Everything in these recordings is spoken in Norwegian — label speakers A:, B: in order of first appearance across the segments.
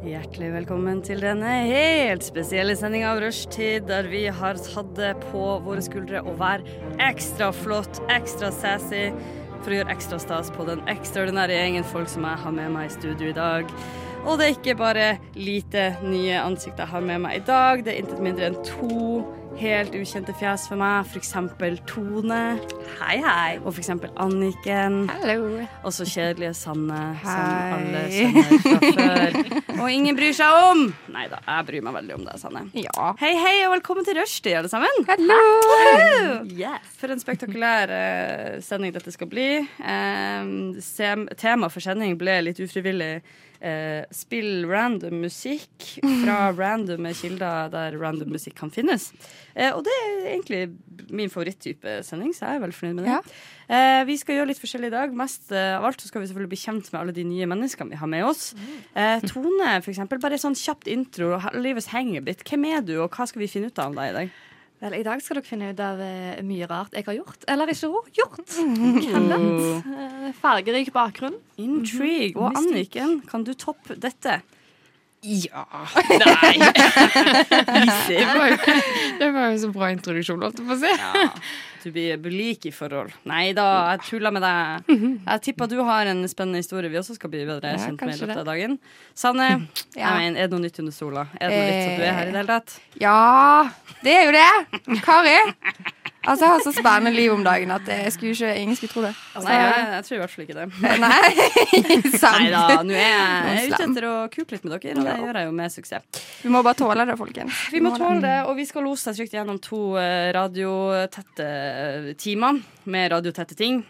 A: Hjertelig velkommen til denne helt spesielle sendinga av Rushtid, der vi har tatt det på våre skuldre å være ekstra flott, ekstra sassy, for å gjøre ekstra stas på den ekstraordinære gjengen folk som jeg har med meg i studio i dag. Og det er ikke bare lite nye ansikter jeg har med meg i dag, det er intet mindre enn to helt ukjente fjes for meg, f.eks. Tone,
B: Hei, hei.
A: og f.eks. Anniken.
B: Hallo.
A: Og så kjedelige Sanne, som
B: Hei.
A: alle kjenner fra før. Og ingen bryr seg om! Nei da, jeg bryr meg veldig om deg, Sanne.
B: Ja.
A: Hei, hei, og velkommen til Rushdie, alle sammen.
B: Hallo.
A: For en spektakulær eh, sending dette skal bli. Em, sem- tema for sending ble litt ufrivillig. eh, spill random musikk fra randomme kilder der random musikk kan finnes. Eh, og det er egentlig min favorittype sending, så jeg er veldig fornøyd med det. Eh,
B: Ja.
A: vi skal gjøre litt forskjellig i dag. Mest eh, av alt så skal vi selvfølgelig bli kjent med alle de nye menneskene vi har med oss. Eh, Tone, for eksempel. Bare sånn kjapt intro. ha- Livets hangebit. Hvem er du, og hva skal vi finne ut av om deg i dag?
C: Vel, I dag skal dere finne ut av eh, mye rart jeg har gjort, eller ikke ro- gjort.
A: Oh.
C: Eh, Fargerik bakgrunn.
A: Intrigue. Og Anniken, kan du toppe dette?
B: Ja.
A: Easy.
B: Det var, jo, det var jo så bra introduksjon, holdt jeg på å si.
A: Du blir lik i forhold. Nei da, jeg tuller med deg. Jeg tipper du har en spennende historie vi også skal bli bedre
B: Ja,
A: kjent med i
B: kanskje
A: løpet av dagen. Sanne,
D: Ja.
A: jeg mener, er det noe nytt under sola? Er det noe nytt at du er her i det hele tatt?
D: Ja, det er jo det. Kari. Altså, jeg har så spennende liv om dagen at eh, jeg skulle ikke, ingen skulle tro det. Så,
A: Nei, jeg, jeg tror i hvert fall ikke det.
D: nei,
A: Nei da,
D: sant.
A: nå er jeg, jeg er ute
D: Slem.
A: etter å kuke litt med dere, og det gjør jeg jo med suksess.
D: Vi må bare tåle det, folkens.
A: Vi må tåle det, og vi skal lose deg trygt gjennom to eh, radiotette eh, timer med radiotette ting.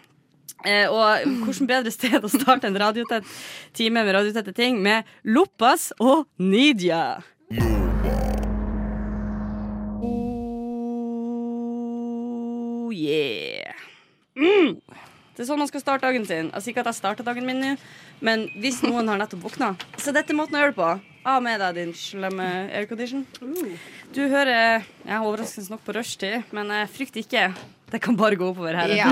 A: Eh, og hvordan bedre sted å starte en radiotett time med radiotette ting med Loppas og Nidia. Oh yeah. Det er sånn man skal starte dagen sin. Altså ikke at jeg starter dagen min nå, men hvis noen har nettopp våkna Så dette er måten å gjøre det på. Av med deg, din slemme aircondition. Du hører Jeg har overraskende nok på rushtid, men eh, frykt ikke. Det kan bare gå oppover her.
D: Ja.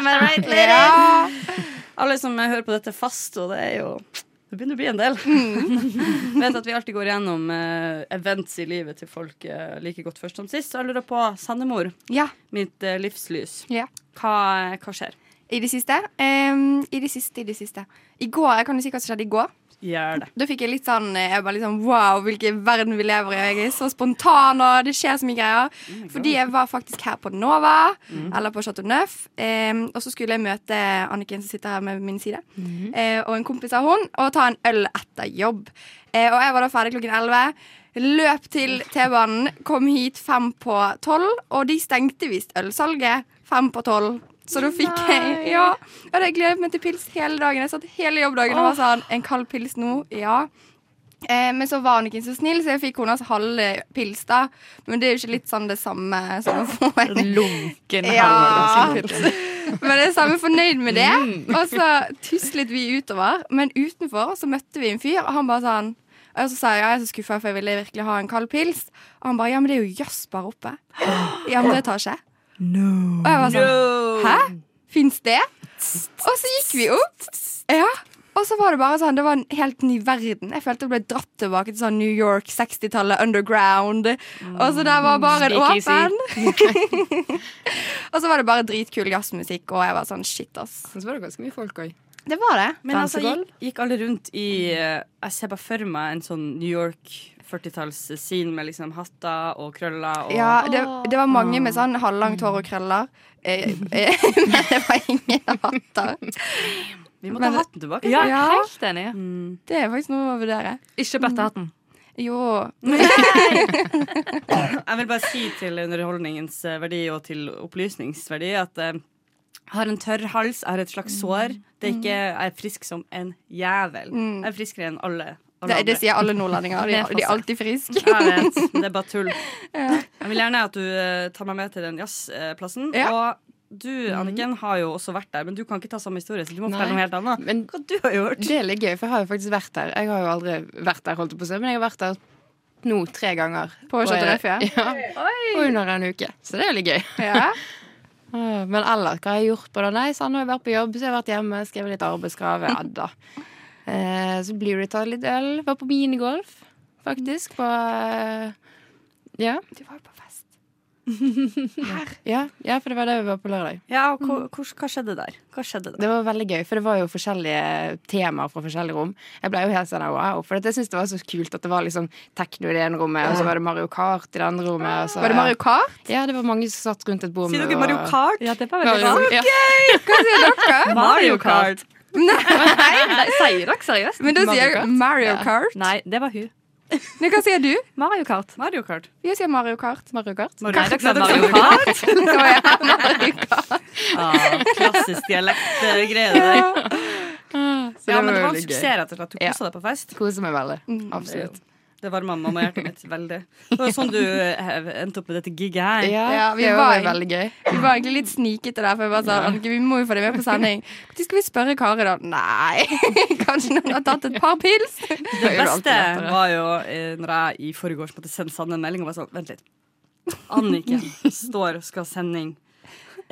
A: Am I right, ladies?
D: Ja.
A: Alle som hører på dette fast, og det er jo Det begynner å bli en del.
D: Mm.
A: Vet at vi alltid går gjennom eh, events i livet til folk eh, like godt først som sist. Så jeg lurer på, Sandemor,
D: ja.
A: mitt eh, livslys,
D: ja.
A: hva, hva skjer?
D: I det siste. Em, I det siste, i det siste. I går, Jeg kan jo si hva som skjedde i går.
A: Gjør det.
D: Da fikk jeg litt sånn jeg var litt sånn, Wow, hvilken verden vi lever i. Jeg er så spontan, og det skjer så mye greier. Fordi jeg var faktisk her på Nova, eller på Chateau Neuf. em, og så skulle jeg møte Anniken, som sitter her med min side, eh, og en kompis av hun, og ta en øl etter jobb. Eh, og jeg var da ferdig klokken 11. Løp til T-banen, kom hit fem på tolv, og de stengte visst ølsalget fem på tolv. Så da fikk jeg Ja. Og det gledet meg til pils hele dagen. Jeg satt hele jobbdagen og var sånn En kald pils nå? Ja. Eh, men så var hun ikke så snill, så jeg fikk hennes halve pils, da. Men det er jo ikke litt sånn det samme som å få en
B: Lunken
D: Ja.
B: halvdagsfilm.
D: men jeg er samme fornøyd med det. Og så tuslet vi utover. Men utenfor så møtte vi en fyr, og han bare sånn og så sa jeg ja, jeg er så skuffa, for jeg ville virkelig ha en kald pils. Og han bare ja, men det er jo Jasper oppe. I andre etasje. Og jeg var sånn hæ? Fins det? Og så gikk vi opp. Ja. Og så var det bare sånn, det var en helt ny verden. Jeg følte jeg ble dratt tilbake til sånn New York, 60-tallet, underground. Og så der var baren
B: Speakeasy.
D: åpen. og så var det bare dritkul jazzmusikk, og jeg var sånn shit, ass.
B: Så var det ganske mye folk òg.
D: Det var det.
A: Men altså,
B: Dansegulv?
A: gikk, gikk alle rundt i eh, Jeg ser bare for meg en sånn New York 40-talls-scene med liksom hatter og krøller og
D: Ja, det, det var mange med sånn halvlangt hår og krøller. Eh, eh, Men det var ingen hatter.
A: Vi må ta
D: men-
A: hatten tilbake. Mm.
B: Ja,
D: Ja.
B: helt enig.
D: Det er faktisk noe å vurdere.
B: Ikke bøtte hatten.
D: Jo.
A: Jeg vil bare si til underholdningens eh, verdi og til opplysningsverdi at eh, jeg har en tørr hals, jeg har et slags
B: Mm.
A: sår. Det er ikke, jeg er frisk som en jævel. Jeg er friskere enn alle. alle
D: Det, det
A: andre.
D: sier alle nordlendinger. De, de er alltid friske.
A: Jeg vet, det er bare tull. Jeg vil gjerne at du eh, tar meg med til den jazzplassen.
D: Ja.
A: Og du,
C: Mhm.
A: Anniken, har jo også vært der, men du kan ikke ta samme historie, så du må
B: Nei.
A: fortelle noe helt annet.
B: Men
A: Hva du har gjort?
B: det er litt gøy, for jeg har jo faktisk vært der. Jeg har jo aldri vært der, holdt jeg på å si, men jeg har vært der nå tre ganger.
D: På
B: Og-
D: Chateau Neuf, ja?
B: ja. Og under en uke. Så det er litt gøy.
D: Ja.
B: Ah, Men ellers, hva har jeg gjort på det? Nei, sånn har jeg vært på jobb, så jeg har vært hjemme, skrevet litt arbeidskrav. Ja da. Eh, så blir det tatt litt øl. Var på minigolf, faktisk. På eh, ja,
D: Du var jo på fest.
B: ja, ja, for det var det vi var på lørdag.
A: Ja, og hva, hvordan- hva skjedde der? Hva skjedde der?
B: Det var veldig gøy, for det var jo forskjellige temaer fra forskjellige rom. Jeg ble jo helt sånn wow, for at jeg syntes det var så kult at det var liksom tekno i det ene rommet, og så var det Mario Kart i det andre rommet. Og så,
D: Var det Mario Kart?
B: Ja, det var mange som satt rundt et bord
A: Sier dere
B: og-
A: Mario Kart?
C: Ja, det var veldig
B: Mario,
C: bra.
B: ja.
D: Hva sier dere?
A: Mario Kart.
C: Nei, sier dere seriøst?
D: Men da
B: Mario
D: sier jeg
B: Kart?
D: Mario Kart.
C: Nei, det var hun.
D: Nei, hva sier du?
C: Mario Kart.
A: Mario Kart.
D: Jeg sier Mario Kart.
B: Mario Kart.
A: Mario
C: Nei, dere sa
A: Nei,
C: Mario Kart.
D: Så jeg er Mario Kart.
A: Ah, klassisk dialektgreie der.
B: Så
A: Ja, men det
B: jo
A: var en
B: veldig gøy.
A: suksess, rett og slett. Du
B: Ja.
A: kosa deg på fest.
B: Koser meg veldig. Absolutt.
A: Det varma mamma og hjertet mitt veldig. Det var sånn du eh, endte opp med dette giget her.
B: Ja,
D: Ja, vi
B: det
D: var
B: var
D: i-
B: veldig gøy.
D: Vi var egentlig litt snikete der, for jeg bare sa Anke, vi må jo få det med på sending. Når skal vi spørre Kari, da? Nei, kanskje noen har tatt et par pils?
A: Det
B: Det gjør det
A: beste
B: alltid lettere.
A: var jo eh, når jeg i forgårs måtte sende Sanne en melding og var sånn Vent litt. Anniken står og skal ha sending.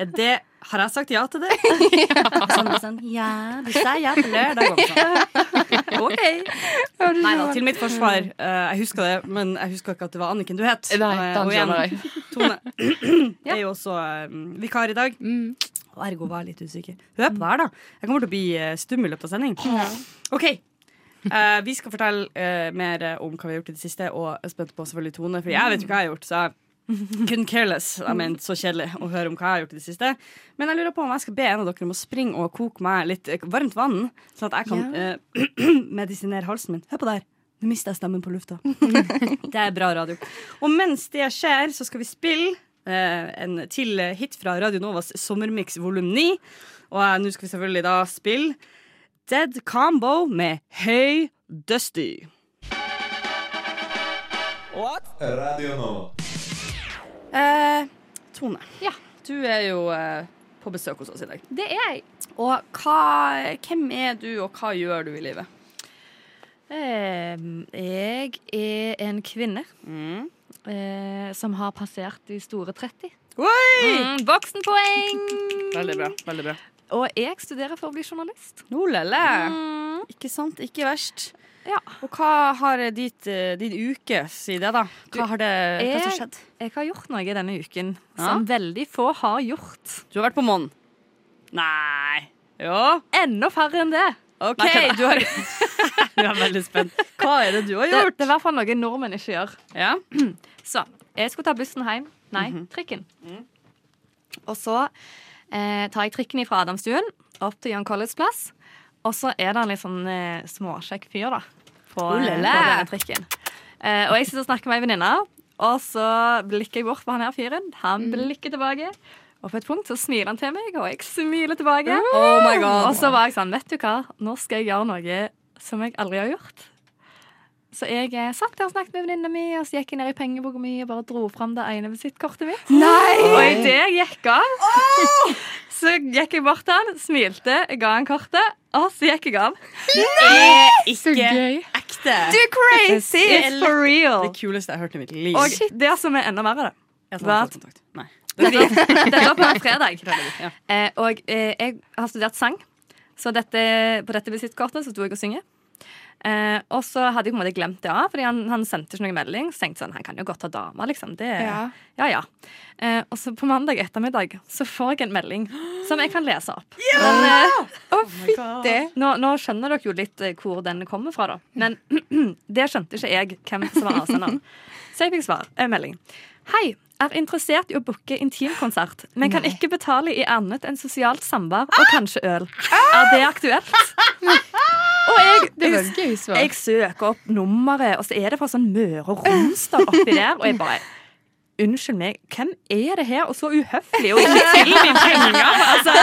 A: Er det Har jeg sagt ja til det? Og Sanne var sånn Ja, du sa ja til lørdag. Og sånn, OK. Nei da, til mitt forsvar. eh, jeg husker det, men jeg husker ikke at det var Anniken du het.
B: Nei,
A: Eh,
B: den
A: og igjen,
B: skjønner jeg.
A: Tone er jo også eh, vikar i dag.
B: Mm.
A: Og ergo var jeg litt usikker. Hør på det her, da. Jeg kommer til å bli eh, stum i løpet av sending. OK. Eh, vi skal fortelle eh, mer eh, om hva vi har gjort i det siste, og jeg er spent på selvfølgelig Tone, for jeg vet jo hva jeg har gjort. Så jeg couldn't care less. Jeg mente så kjedelig å høre om hva jeg har gjort i det siste. Men jeg lurer på om jeg skal be en av dere om å springe og koke meg litt eh, varmt vann, sånn at jeg kan eh, medisinere halsen min. Hør på det her. Nå mister jeg stemmen på lufta. Det er bra radio. Og mens det skjer, så skal vi spille eh, en til hit fra Radio Novas Sommermix volum 9. Og eh, nå skal vi selvfølgelig da spille Dead Combo med Høy Dusty.
E: Radio Nova.
A: Eh, Tone,
C: Ja.
A: du er jo eh, på besøk hos oss i dag.
C: Det er jeg.
A: Og hva, hvem er du, og hva gjør du i livet?
C: Ehm, Jeg er en kvinne
A: Mm.
C: eh, som har passert de store 30.
A: Oi!
C: Mm, Voksenpoeng!
A: Veldig bra. veldig bra
C: Og jeg studerer for å bli journalist.
A: Nå, lelle.
C: Mm.
A: Ikke sant? Ikke verst.
C: Ja.
A: Og hva har ditt, eh, din uke si det, da? Hva har det hva som
C: jeg-
A: skjedd?
C: Jeg har gjort noe denne uken
A: Ja.
C: som veldig få har gjort.
A: Du har vært på månen? Nei. Jo.
C: Enda færre enn det.
A: OK,
C: Nei, kødda.
A: du har Jeg er veldig spent. Hva er det du har
C: Det,
A: gjort?
C: det er i hvert fall noe nordmenn ikke gjør.
A: Ja.
C: Så jeg skulle ta bussen hjem. Nei,
A: Mhm.
C: trikken. Og så eh, tar jeg trikken fra Adamstuen opp til John Colletts plass. Og så er det en litt sånn eh, småkjekk fyr da på,
A: Oh,
C: eh, på
A: lele.
C: denne trikken. Eh, og jeg sitter og snakker med ei venninne, og så blikker jeg bort på han her fyren. Han
A: Mm.
C: blikker tilbake. Og på et punkt så smiler han til meg, og jeg smiler tilbake.
A: Oh my god.
C: Og så var jeg sånn, vet du hva, nå skal jeg gjøre noe som jeg aldri har gjort. Så jeg eh, satt der og snakket med venninna mi, og så gikk jeg ned i pengeboka mi og bare dro fram det ene visittkortet mitt. Og
D: Nei!
C: idet jeg gikk av, så gikk jeg bort til han, smilte, ga han kortet, og så gikk jeg av.
B: Så gøy.
A: Eh, ekte.
D: Du er crazy!
C: It's for real.
A: Det kuleste jeg har hørt i mitt liv.
C: Og det som er enda verre, da.
A: Jeg tar
C: Hva?
A: kontakt. Nei.
C: Dette dette var på en fredag.
A: Ja.
C: Eh, og eh, jeg har studert sang, så dette, på dette visittkortet så sto jeg og synge. Eh, og så hadde jeg på en måte glemt det av, fordi han, han sendte ikke noen melding. Så tenkte jeg sånn, han kan jo godt ha dame, liksom. Det, ja.
D: Ja.
C: ja, Eh, og så på mandag ettermiddag så får jeg en melding som jeg kan lese opp. eh,
D: Å,
B: Oh
D: fytti.
C: Nå, nå skjønner dere jo litt eh, hvor den kommer fra, da. Men det skjønte ikke jeg hvem som var avsenderen. Så jeg fikk svar. En melding. Hei. Er interessert i å booke intimkonsert, men kan ikke betale i annet enn sosialt samvær og kanskje øl. Er det aktuelt? Og jeg,
B: Det var et gøy svar.
C: jeg søker opp nummeret, og så er det fra sånn Møre og Romsdal oppi der. Og jeg bare Unnskyld meg, hvem er det her? Og så uhøflig! Og ikke tilby penger! Altså.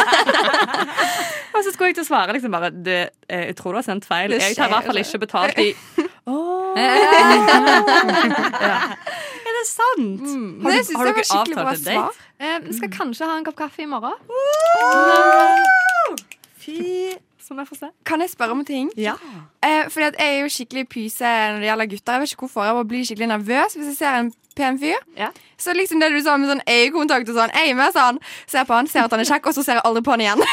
C: Og så skulle jeg til å svare liksom bare du, eh, Jeg tror du har sendt feil.
D: Det
C: Jeg tar i hvert
D: skjer,
C: fall ikke betalt i Åh. ja. Er det sant?
D: Det
A: har
D: syns jeg var
A: dere
D: skikkelig
A: avtalt
D: bra
A: en date?
D: svar.
C: Eh, vi skal kanskje ha en kopp kaffe i morgen,
A: Fy
C: så vi får se.
D: Kan jeg spørre om en ting?
C: Ja.
D: Eh, fordi at jeg er jo skikkelig pyse når det gjelder gutter. Jeg vet ikke hvorfor, jeg bare blir skikkelig nervøs hvis jeg ser en pen fyr.
C: Ja.
D: Så liksom det du sa med sånn øyekontakt og sånn, jeg er med, sa han. Ser på han, ser at han er kjekk, og så ser jeg aldri på han igjen.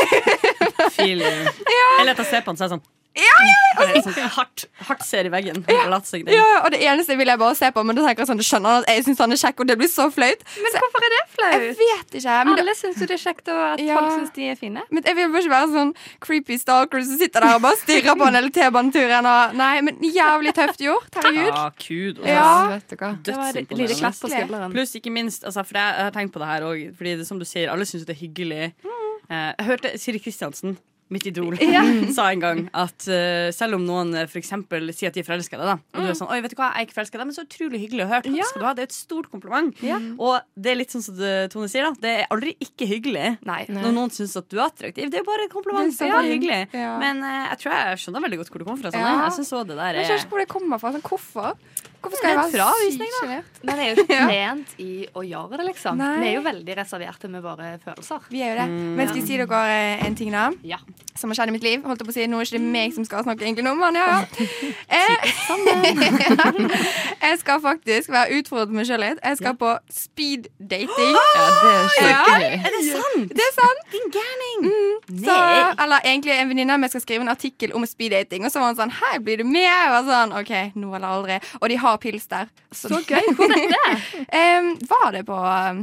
A: Feel you. Jeg leter og ser på han, så er jeg sånn Sånn hardt, hardt ser i veggen. og latt seg den.
D: Ja, og det eneste vil jeg bare se på, men da tenker jeg sånn, det skjønner han at jeg syns han er kjekk, og det blir så flaut.
C: Men
D: Så
C: hvorfor er det
D: jeg
C: flaut?
D: vet ikke. Men, det,
C: Alle syns jo det er kjekt, og at
D: Ja.
C: folk syns de er fine.
D: men jeg vil bare ikke være sånn creepy stalker som sitter der og bare stirrer på han hele T-baneturen. Og, nei, men jævlig tøft gjort. Herregud.
A: Ja, kudos.
D: Ja.
B: Vet du hva?
C: Det var et lite
A: Dødsimponerende.
C: klapp på skulderen.
A: Pluss ikke minst, altså, for jeg har tenkt på det her òg, fordi det, som du sier, alle syns det er hyggelig. Eh, jeg hørte Siri Kristiansen, mitt idol, sa en gang at eh, selv om noen eh, for eksempel sier at de er forelska i deg, da, og du er sånn 'Oi, vet du hva, jeg er ikke forelska i deg, men så utrolig hyggelig å høre. Takk skal du ha. Det er et stort kompliment.' Og det er litt sånn som det Tone sier, da. Det er aldri ikke hyggelig
C: Nei.
A: når noen syns at du er attraktiv. Det er bare et kompliment.
D: Det
A: Det
D: er
A: er bare
D: sant.
A: hyggelig.
D: Ja.
A: Men eh, jeg tror jeg skjønner veldig godt hvor det kommer fra. Sånn.
D: Ja.
A: Jeg synes også det der
D: Jeg skjønner
A: er
D: ikke hvor det kommer fra. Sånn, hvorfor? Hvorfor skal jeg
C: eh, Det er
D: være
C: en
D: sykt sjenert?
C: Men det er jo ikke trent i å gjøre det, liksom.
D: Nei.
C: Vi er jo veldig reserverte med våre følelser.
D: Vi er jo det. Men skal jeg si dere eh, en ting, da?
C: Ja.
D: Som har skjedd i mitt liv. Holdt jeg på å si, Nå er ikke det meg som skal snakke egentlig nå, men ja, ja. Eh, jeg skal faktisk være utfordret meg sjøl litt. Jeg skal på speed dating.
B: Ja, det er så
D: Ja.
B: gøy.
A: Er det sant?
D: Det er sant! Mm.
A: Din gærning!
D: Så, eller egentlig en venninne av meg skal skrive en artikkel om speed dating, og så var han sånn Hei, blir du med? Jeg var sånn OK, nå eller aldri. Og de har pils der. Så, gøy. Hvor er det? var det på um,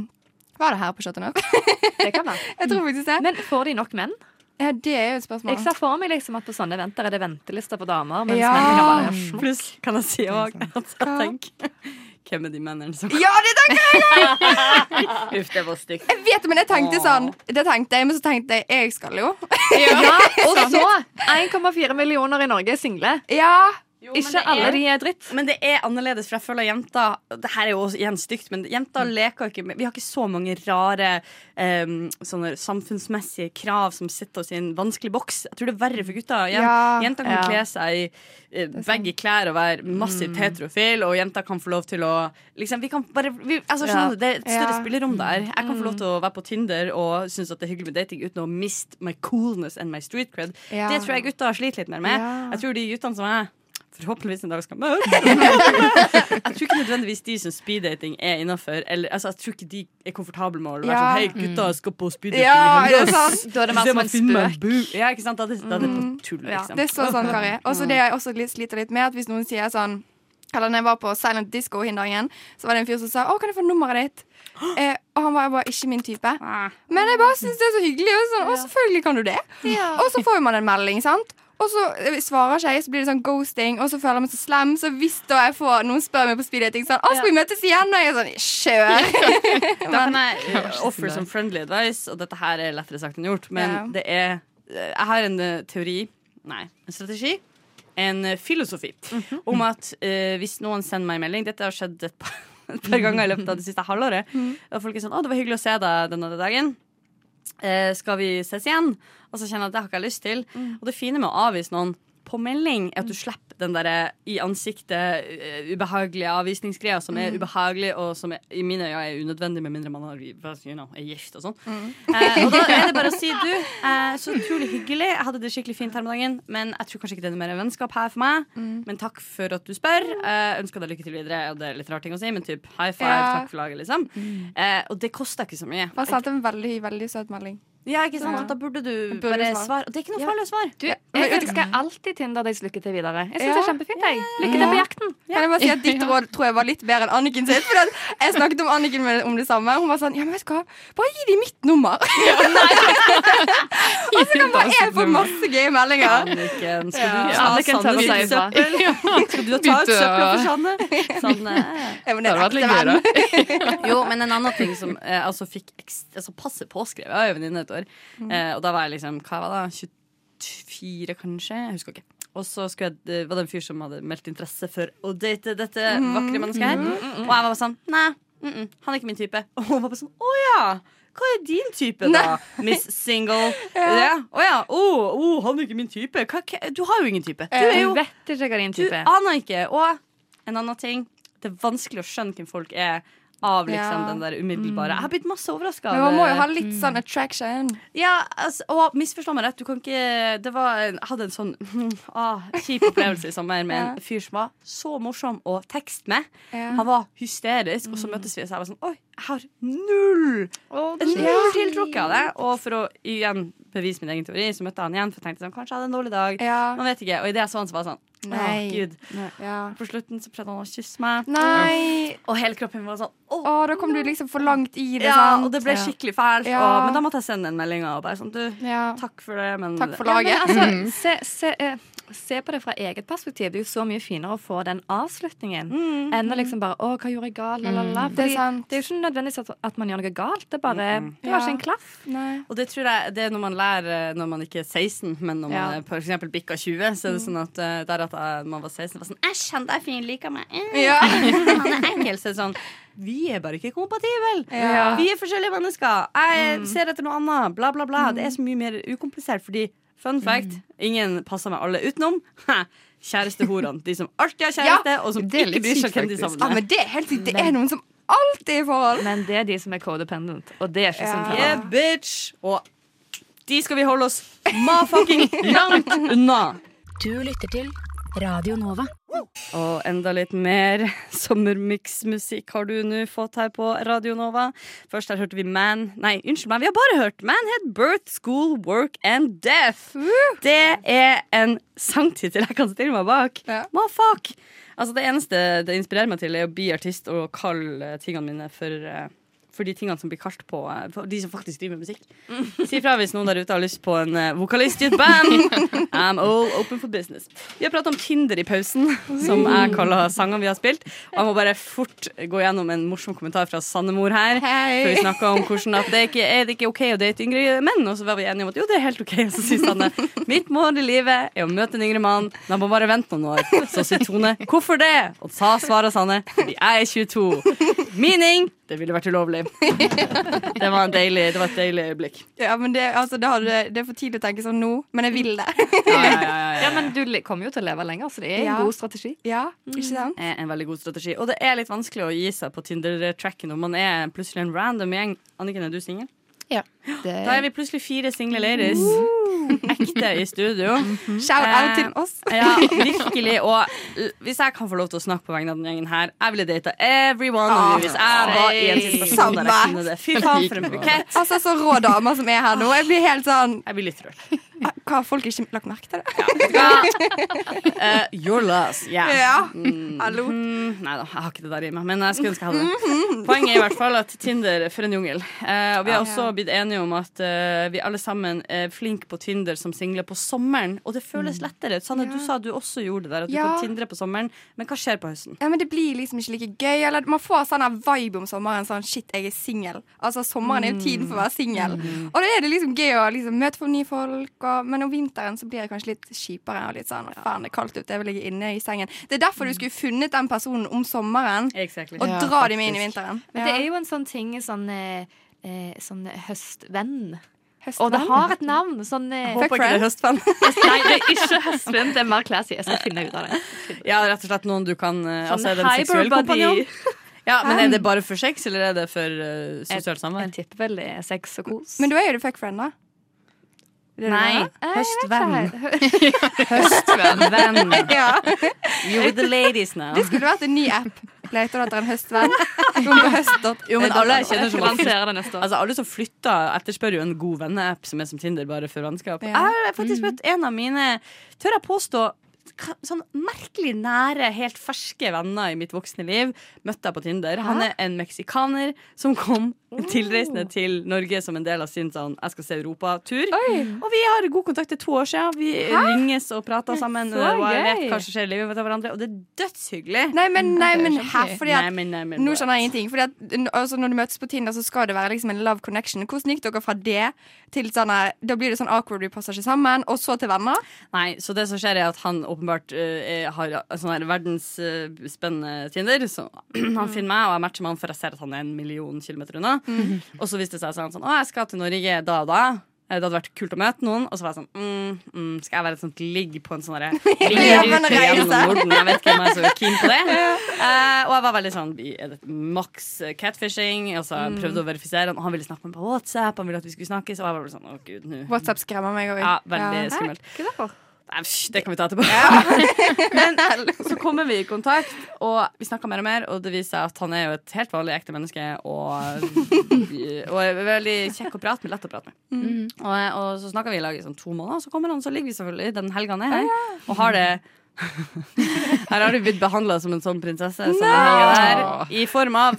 D: Var det her på Chateau Neuf?
C: Det kan være.
D: jeg tror faktisk det.
C: Men får de nok menn?
D: ja, det er jo et spørsmål.
C: Jeg ser for meg liksom at på sånne eventer er det ventelister på damer. Mens
D: Ja.
C: menn kan bare sm-
A: Pluss kan jeg si òg at jeg tenker Hvem er de mennene som
D: Ja, det tenker jeg!
A: Uff, det var stygt.
D: Jeg vet det, men jeg tenkte sånn. Det tenkte jeg, men så tenkte jeg jeg skal jo.
C: ja, Og så 1,4 millioner i Norge er single.
D: ja.
C: Ikke alle de er dritt.
A: Men det er annerledes, for jeg føler jenter Det her er jo også igjen stygt, men jenter
D: Mm.
A: leker ikke med Vi har ikke så mange rare em, sånne samfunnsmessige krav som sitter oss i en vanskelig boks. Jeg tror det er verre for gutter. Jen,
D: Ja,
A: jenter kan
C: ja.
A: kle seg i eh, begge klær og være
D: Mm.
A: massivt heterofil, og jenter kan få lov til å liksom, Vi kan bare vi, altså,
C: Ja.
A: skjønner du, Det er et større
D: Ja. Mm.
A: spillerom der. Jeg kan få lov til å være på Tinder og synes at det er hyggelig med dating uten å miste my coolness and my street cred.
D: Ja.
A: Det tror jeg gutter sliter litt mer med.
D: Ja.
A: Jeg tror de guttene som jeg forhåpentligvis en dag skal møte Jeg tror ikke nødvendigvis de som speeddating er innafor. Altså, jeg tror ikke de er komfortable med å være
D: Ja.
A: sånn Hei, gutta, skal på speeddating.
D: Ja, det er
A: Hellas.
D: sant. Mm.
C: Da er det mer
A: Se
C: som
A: meg
C: en
A: finne meg
C: spøk.
A: bu- Ja, ikke sant? Da er det, da er det på tull, liksom.
D: Det er så sånn, Kari. Og så det jeg også litt- sliter litt med, at hvis noen sier sånn Eller når jeg var på Silent Disco hin dagen, så var det en fyr som sa 'Å, kan jeg få nummeret ditt?' Eh, og han var bare ikke min type. Men jeg bare syns det er så hyggelig. Og sånn, å, selvfølgelig kan du det. Og så får man en melding, sant. Og så eh, svarer ikke jeg, så blir det sånn ghosting, og så føler jeg meg så slem. Så hvis da jeg får noen spør meg på speeddating sånn 'Å, skal vi møtes igjen?' Og jeg er sånn Kjør!
A: Da kan jeg eh, offer some friendly advice, og dette her er lettere sagt enn gjort, men
D: Ja.
A: det er eh, Jeg har en eh, teori Nei, en strategi. En eh, filosofi
D: Mhm.
A: om at eh, hvis noen sender meg en melding Dette har skjedd et par, et par ganger i løpet av det siste halvåret.
D: Mhm.
A: Og folk er sånn 'Å, det var hyggelig å se deg denne dagen'. Eh, skal vi ses igjen? Og så kjenner jeg at det har ikke jeg lyst til. Og det fine med å avvise noen på melding er at du slipper den derre i ansiktet eh, ubehagelige avvisningsgreia som er ubehagelig, og som er, i mine øyne er unødvendig, med mindre man har, you know, er gift og sånn. Eh, og da er det bare å si du, eh, så utrolig hyggelig. Jeg hadde det skikkelig fint her om dagen, men jeg tror kanskje ikke det er noe mer vennskap her for meg. Men takk for at du spør. Eh, ønsker deg lykke til videre. Og det er litt rar ting å si, men typ high five,
D: Ja.
A: takk for laget, liksom. Eh, og det koster ikke så mye.
D: Han sendte en veldig, veldig søt melding.
A: Ja, ikke sant? Og Da burde du
D: Burde
A: bare svare.
D: svare.
A: Og det er ikke noe
D: Ja.
A: farlig å svare.
C: Du,
D: men
C: jeg
D: vet du
C: ønsker alltid Tinder deres lykke til videre. Jeg synes
D: Ja.
C: det er kjempefint. Jeg. Lykke til på jakten.
D: Kan jeg bare si at Ditt råd tror jeg var litt bedre enn Anniken sitt. For at jeg snakket om Anniken med, om det samme. Hun var sånn Ja, men vet du hva, bare gi dem mitt nummer. Og så kan bare jeg få masse gøye meldinger.
A: Anniken, skal du
C: Ja,
A: ta
C: Anniken tør
A: Sanne
C: å si
A: sitt
C: ifra.
A: søppel? Skal du ta ut
B: Begynte å-
A: søpla for Sanne? Sanne.
D: Ja, men
B: Det
D: det er
B: hadde vært litt
D: ekte
B: gøy,
D: venn.
B: da.
A: Jo, men en annen ting som eh, altså fikk ekstra, altså passe påskrevet Jeg var jo venninne et år, eh, og da var jeg liksom Hva var det? 24, kanskje? Jeg husker ikke. Og så skulle jeg, det var det en fyr som hadde meldt interesse for å date dette vakre mennesket her. Og jeg var bare sånn Nei, mm -mm, han er ikke min type. Og hun var bare sånn Å ja! Hva er din type, da? Miss Single. Ja. Å ja. Å, å, han er ikke min type. Hva, hva, du har jo ingen type. Du er jo
C: Du vet ikke hva din
A: du
C: type er.
A: aner ikke. Og en annen ting. Det er vanskelig å skjønne hvem folk er av liksom
D: Ja. Mm.
A: den der umiddelbare. Jeg har blitt masse overraska.
D: Men man må jo ha litt
B: Mm.
D: sånn attraction.
A: Ja, altså, og misforstå meg rett, du kan ikke Det var en, jeg hadde en sånn ah, kjip opplevelse i sommer med en fyr som var så morsom å tekste med.
D: Ja. Mm.
A: Han var hysterisk, og så møttes vi, og så jeg var sånn Oi, jeg har null
C: Å,
A: Null tiltrukket av det. Og for å igjen bevise min egen teori, så møtte jeg han igjen. For jeg tenkte sånn, kanskje jeg hadde en dårlig dag.
D: Ja.
A: Man vet ikke. Og idet jeg så han, så var jeg sånn Å,
D: Nei.
A: gud.
D: ja.
A: På slutten så prøvde han å kysse meg,
D: Nei!
A: og hele kroppen min var sånn Å,
D: Å, da kom du liksom for langt i det, sånn.
A: ja,
D: sant?
A: og det ble skikkelig fælt.
D: Ja.
A: Og, men da måtte jeg sende en melding og bare sånn Du,
D: Ja.
A: takk for det, men
D: Takk for
C: Ja, men
D: laget.
C: altså, se, se, eh, se på det fra eget perspektiv. Det er jo så mye finere å få den avslutningen enn å liksom bare 'Å, hva gjorde jeg galt?' La, la, la.
D: Mm, Det er
C: Fordi
D: sant. Mm,
C: det er jo ikke nødvendigvis at, at man gjør noe galt. Det er bare Det var
D: Ja.
C: ikke en klaff.
D: Nei.
A: Og det tror jeg det er når man lærer eh, når man ikke er 16, men når
C: Ja.
A: man man f.eks. bikka 20. Så er det sånn at eh, der at jeg, man var 16, var sånn Æsj, han der fyren liker meg. Eh,
D: Ja.
A: Han er ekkel. Så er det sånn Vi er bare ikke kompatible.
D: Ja.
A: Vi er forskjellige mennesker. Jeg ser etter noe annet. Bla, bla, bla. Det er så mye mer ukomplisert, fordi fun fact ingen passer meg alle utenom. Kjærestehorene. De som alltid har kjæreste,
D: Ja,
A: og som
B: det er
A: ikke
B: litt
A: bryr seg
B: sykt,
A: om hvem de
B: faktisk.
D: Ja,
A: savner.
D: men det er helt sykt. Det er noen som alltid er i forhold.
C: Men det er de som er codependent, og det er ikke sånn
D: Ja.
C: sånn
A: Yeah, bitch! Og de skal vi holde oss ma-fucking langt unna.
F: Du lytter til Radio Nova.
A: Og enda litt mer sommermiksmusikk har du nå fått her på Radio Nova. Først her hørte vi Man Nei, unnskyld meg, vi har bare hørt Manhead Birth School Work and Death. Det er en sangtittel jeg kan stille meg bak.
D: Ja.
A: Ma fuck! Altså Det eneste det inspirerer meg til, er å bli artist og kalle eh, tingene mine for eh, for de tingene som blir kalt på eh, for De som faktisk driver med musikk. Si ifra hvis noen der ute har lyst på en eh, vokalist i et band. I'm all open for business. Vi har pratet om Tinder i pausen, som jeg kaller sangene vi har spilt. Og jeg må bare fort gå gjennom en morsom kommentar fra Sandemor her.
D: Hei.
A: For vi snakka om hvordan at det er ikke er det ikke OK å date yngre menn. Og så var vi enige om at jo, det er helt OK. Og så sier Sanne mitt mål i livet er å møte en yngre mann, men jeg må bare vente noen år. Så sier Tone hvorfor det? Og så svarer Sanne fordi jeg er 22. Meaning det ville vært ulovlig. Det var, en deilig, det var et deilig øyeblikk.
D: Ja, men det, altså, det, har du, det er for tidlig å tenke sånn nå, men jeg vil det. Mm.
A: Ja, ja, ja, ja.
C: Ja, men du le- kommer jo til å leve lenger, så det er en
D: Ja.
C: god strategi.
D: Ja, ikke sant?
A: er en veldig god strategi. Og det er litt vanskelig å gi seg på Tinder-tracken når man er plutselig en random gjeng. Anniken, er du singel?
B: Ja.
A: Da er vi plutselig fire single ladies. Ekte i studio.
D: Shout
A: Eh,
D: out til oss.
A: Ja, virkelig. Og eh, hvis jeg kan få lov til å snakke på vegne av den gjengen her, jeg ville data everyone nå hvis jeg var i en situasjon der jeg kunne det. Fy faen, for en bukett.
D: Altså, så rå damer som er her nå. Jeg blir helt sånn
A: Jeg blir litt rørt.
D: Hva har folk ikke lagt merke til det?
A: Eh, your loss. Yeah.
D: Ja. Hallo.
A: Mm, nei da, jeg har ikke det der i meg, men jeg skulle ønske jeg hadde det. Poenget er i hvert fall at Tinder er for en jungel. Eh, og vi har også blitt enige om at eh, vi alle sammen er flinke på Tinder som single på sommeren, og det føles lettere. ut. Sanne, du sa du også gjorde det der, at du
D: Ja.
A: kan tindre på sommeren, men hva skjer på høsten?
D: Ja, men Det blir liksom ikke like gøy. Eller Man får sånn her vibe om sommeren. Sånn, Shit, jeg er singel. Altså, sommeren er jo tiden for å være singel. Og da er det liksom gøy å liksom, møte for nye folk. Og, men om vinteren så blir det kanskje litt kjipere. Og litt sånn, faen, det er kaldt ute, jeg vil ligge inne i sengen. Det er derfor du skulle funnet den personen om sommeren,
A: Exactly.
D: og
B: Ja,
D: dra dem inn i
B: faktisk.
D: vinteren.
C: Men det er jo en sånn ting, sånn, eh, eh, sånn høstvenn. Og det har et navn. Sånn eh,
A: Håper ikke det er høstvenn.
C: Nei, det er ikke høstvenn, det er mer classy. Jeg skal finne ut av det. Sånn
A: Ja, rett og slett noen du kan eh, Altså, er det en
C: hyper
A: seksuell
C: buddy.
A: kompanjong? Ja, men er det bare for sex, eller er det for eh, sosialt
C: Jeg
A: samvær?
C: tipper vel det er sex og kos.
D: Men da er jo du fuck friend, da.
A: Nei. Eh, Høstvenn.
B: høstvenn.
A: Venn.
D: Ja.
A: You with the ladies now.
D: Det skulle vært en ny app. Leter du etter en høstvenn? Kom på høst.
A: Jo, men alle jeg kjenner
C: Jeg
A: som
C: skal
A: har
C: lansere det neste år.
A: Altså, alle som flytter, etterspør jo en god venneapp som er som Tinder, bare for vennskap.
D: Ja. Mm.
A: Jeg har faktisk møtt en av mine, tør jeg påstå, ka- sånn merkelig nære, helt ferske venner i mitt voksne liv. Møtte jeg på Tinder. Han er en meksikaner som kom
D: Oh.
A: tilreisende til Norge som en del av sin sånn jeg skal se Europa-tur. Og vi har god kontakt til to år siden. Vi ringes og prater sammen.
C: Så
A: Og jeg vet
C: gøy.
A: hva som skjer i livet til hverandre, og det er dødshyggelig.
D: Nei, men, nei, men
B: Det er jo
D: her,
B: kjempegøy.
D: fordi at
A: men, nei, men,
D: Nå skjønner jeg ingenting. Fordi at, n- altså, når du møtes på Tinder, så skal det være liksom en love connection. Hvordan gikk dere fra det til sånn her Da blir det sånn awkward, vi passer ikke sammen, og så til venner?
A: Nei, så det som skjer er at han åpenbart eh, er- har en sånn her verdensspennende Tinder. Så han finner meg, og jeg matcher med han, for jeg ser at han er en million kilometer unna. Og så viste det seg sånn, sånn Å, jeg skal til Norge da og da. Eh, Det hadde vært kult å møte noen. Og så var jeg sånn mm, mm, Skal jeg være et sånt ligg på en sånn herre
D: Levende
A: Liggerute
D: reise.
A: gjennom Norden? Jeg vet ikke om jeg er så keen på det. Eh, og jeg var veldig sånn vi er det maks eh, catfishing. Altså, jeg prøvde å verifisere han. Og han ville snakke med meg på WhatsApp, han ville at vi skulle snakkes. Og jeg var bare sånn Å, gud, nå
D: WhatsApp skremmer meg òg.
A: Ja, veldig skummelt.
C: Hva er det for?
A: Nei, pff, det kan vi ta etterpå. Men så kommer vi i kontakt, og vi snakker mer og mer, og det viser seg at han er jo et helt vanlig ekte menneske og, og er veldig kjekk å prate med, lett å prate med. Og, og så snakker vi i lag i sånn to måneder, og så kommer han, så ligger vi selvfølgelig den helga ned her, og har det Her har du blitt behandla som en sånn prinsesse som den helga der, i form av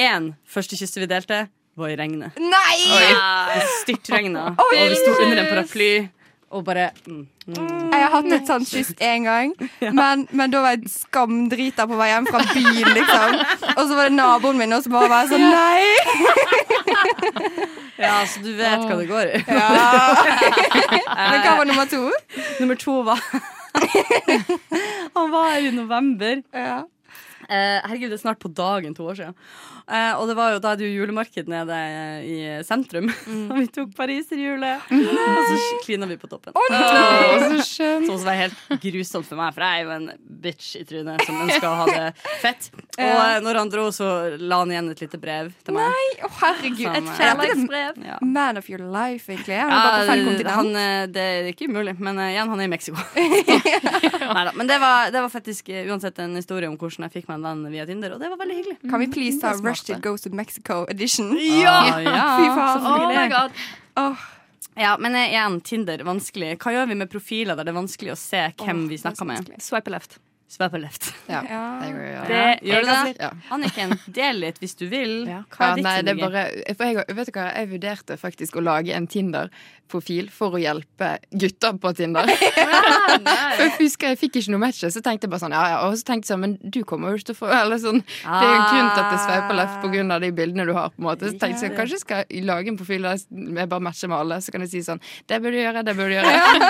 A: én første kysset vi delte, var i regnet.
D: Nei!
A: Det styrtregna, og vi sto under en paraply og bare mm, mm.
D: Jeg har hatt et sånt kyss én gang, men, men da var jeg skamdrita på vei hjem fra byen. liksom Og så var det naboen min også som bare var sånn Nei!
A: Ja, så du vet hva det går i.
D: Men hva var nummer to?
A: Nummer to var Han var her i november. Eh, herregud, det er snart på dagen to år siden. Eh, og det var jo da det er jo julemarked nede i sentrum. Og vi tok pariserhjulet, og så klina vi på toppen.
B: Å, så skjønt.
A: Som også var helt grusomt for meg, for jeg er jo en bitch i trynet som ønsker å ha det fett. Og eh, når han dro, så la han igjen et lite brev til meg.
D: Nei, å herregud.
A: Som,
D: Et
A: eh,
C: liksom-
D: kjærlighetsbrev.
A: Ja.
D: Man of your life, egentlig. Han er bare på feil
A: Ja,
D: kontinent.
A: han, eh, det er ikke umulig, men eh, igjen, han er i Mexico. Neida, Men det var, det var faktisk eh, uansett en historie om hvordan jeg fikk meg en venn via Tinder, og det var veldig hyggelig.
D: Kan vi please ta
B: det er
D: Rush
B: smart,
D: It Goes to Mexico edition?
A: Ja! Ah, ja.
D: Fy faen.
C: Oh my god.
A: Ja, Men eh, igjen, Tinder, vanskelig. Hva gjør vi med profiler der det er vanskelig å se hvem vi snakker med?
C: Swipe left.
A: Sveper left.
B: Ja.
D: Ja.
B: Det går jo, ja.
A: Det, gjør du det?
B: Ja.
A: Anniken, del litt hvis du vil.
B: Ja.
A: Hva er ditt
B: nei, det er
A: syndrom?
B: bare, for jeg, vet du hva, jeg vurderte faktisk å lage en Tinder-profil for å hjelpe gutter på Tinder. For jeg husker jeg fikk ikke noe matcher, så tenkte jeg bare sånn ja, ja. Og så tenkte jeg sånn, men du kommer jo ikke til å få Eller sånn, Det er jo en grunn til at det sveiper left på grunn av de bildene du har. på en måte Så tenkte jeg sånn, kanskje jeg skal lage en profil der jeg bare matcher med alle, så kan jeg si sånn Det burde du gjøre, det burde du gjøre.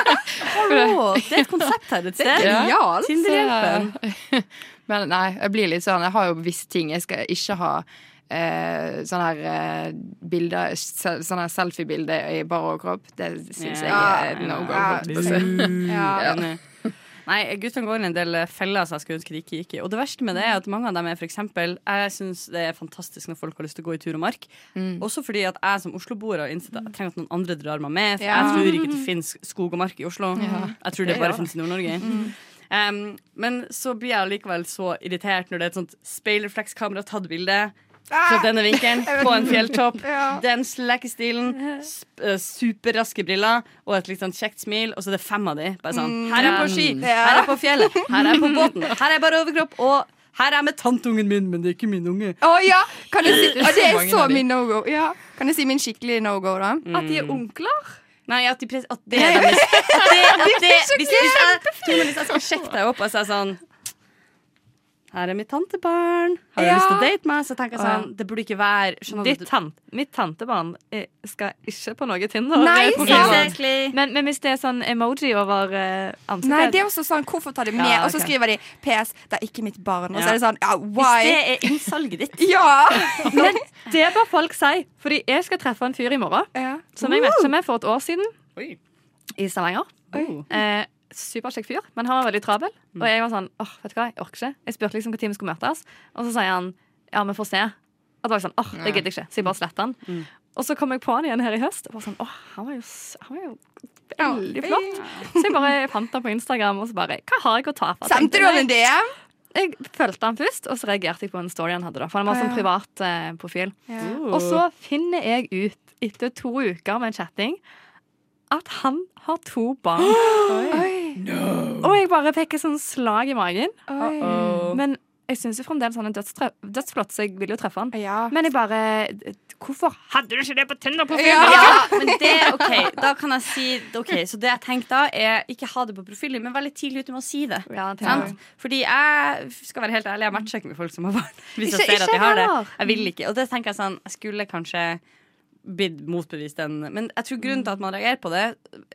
A: Å, det er et konsept her et sted.
B: Ja.
D: Genialt.
A: Tinder-hjelpen.
B: Så- Men nei, jeg blir litt sånn Jeg har jo visse ting. Jeg skal ikke ha eh, sånne her eh, bilder se- Sånne her selfie-bilder i bar overkropp. Det syns
A: Ja.
B: jeg er no go.
D: Ja.
B: holdt jeg på å si.
D: Ja.
A: Enig. Nei, guttene går i en del feller som jeg skulle ønske de ikke gikk i. Og det verste med det er at mange av dem er for eksempel Jeg syns det er fantastisk når folk har lyst til å gå i tur og mark.
D: Mm.
A: Også fordi at jeg som Oslo-boer har innsett at jeg trenger at noen andre drar meg med. For
D: Ja.
A: jeg tror ikke det fins skog og mark i Oslo. Jeg tror det bare fins i Nord-Norge.
D: Mm.
A: Um, men så blir jeg likevel så irritert når det er et sånt speilreflekskamera tatt bilde.
D: Ah,
A: Fra denne vinkelen, på en fjelltopp. Den slakke stilen, sp eh, superraske briller og et litt sånn kjekt smil, og så er det fem av de. Bare sånn, her er jeg på ski, her er jeg på fjellet, her er jeg på båten, her er jeg bare overkropp, og her er jeg med tanteungen min, men det er ikke min unge.
D: Å ja! Kan jeg si,
B: er
D: å, det
B: så
D: er
B: mange
D: så
B: av de.
D: min no go. Ja. Kan jeg si min skikkelig no go, da?
C: At de er onkler?
A: Nei, at, de pres at det er deres at det, at det, hvis, hvis, jeg, Tone, hvis jeg skal sjekke deg opp og så er jeg sånn Her er mitt tantebarn. Har du
D: Ja.
A: lyst til å date meg? Så tenker jeg
C: Å, ja.
A: sånn Det burde ikke være skjønner du?
C: Ditt tan- mitt tantebarn eh, skal ikke på noe Tinder.
D: Nei,
C: Det er på
D: sant?
C: grunn av-
A: Exactly.
C: Men, men hvis det er sånn emoji over eh, ansiktet
D: Nei, det er også sånn, Hvorfor tar de med?
C: Ja,
D: Og så
C: ok.
D: skriver de 'PS, det er ikke mitt barn'. Og
A: Ja.
D: så er det sånn ja,
A: Hvis det
D: why?
A: er innsalget ditt
D: Ja!
C: Men det bør folk si, fordi jeg skal treffe en fyr i morgen
D: ja.
C: som jeg møtte med for et år siden
A: Oi.
C: i Stavanger.
A: Oh.
C: Eh, Superkjekk fyr, men han var veldig travel.
D: Mm.
C: Og jeg var sånn åh, vet du hva, jeg orker ikke. Jeg spurte liksom når vi skulle møtes, og så sier han ja, vi får se. Og da var jeg sånn, åh, det gidder jeg ikke. Så jeg bare sletta han.
D: Mm.
C: Og så kom jeg på han igjen her i høst. Og var sånn, åh, han var jo, s- han var jo veldig flott. Så jeg bare fant han på Instagram, og så bare Hva har jeg å tape? tenkte
D: Sendte du
C: jeg.
D: han en DM?
C: Jeg fulgte han først, og så reagerte jeg på en story han hadde. da For han var
D: Ah, ja.
C: sånn privat eh, profil. Og så finner jeg ut, etter to uker med chatting, at han har to barn.
D: Oi.
C: Og jeg bare fikk et sånn slag i magen.
D: Oi.
C: Men jeg syns jo fremdeles han er dødstrø- dødsflott, så jeg vil jo treffe han.
D: Ja.
C: Men jeg bare Hvorfor hadde du ikke det på Tinder-profilen?
D: Ja.
A: Ja, men det, ok, da kan jeg si Ok, så det jeg tenkte da er Ikke ha det på profilen, men veldig tidlig ute med å si det
C: Ja,
A: Sant? Fordi jeg skal være helt ærlig Jeg matcher ikke med folk som har barn Hvis
C: Ikke-
A: jeg ser
C: ikke
A: at de har det
C: heller.
A: Jeg vil ikke, og det tenker jeg sånn Jeg skulle kanskje blitt motbevist den Men jeg tror grunnen til at man reagerer på det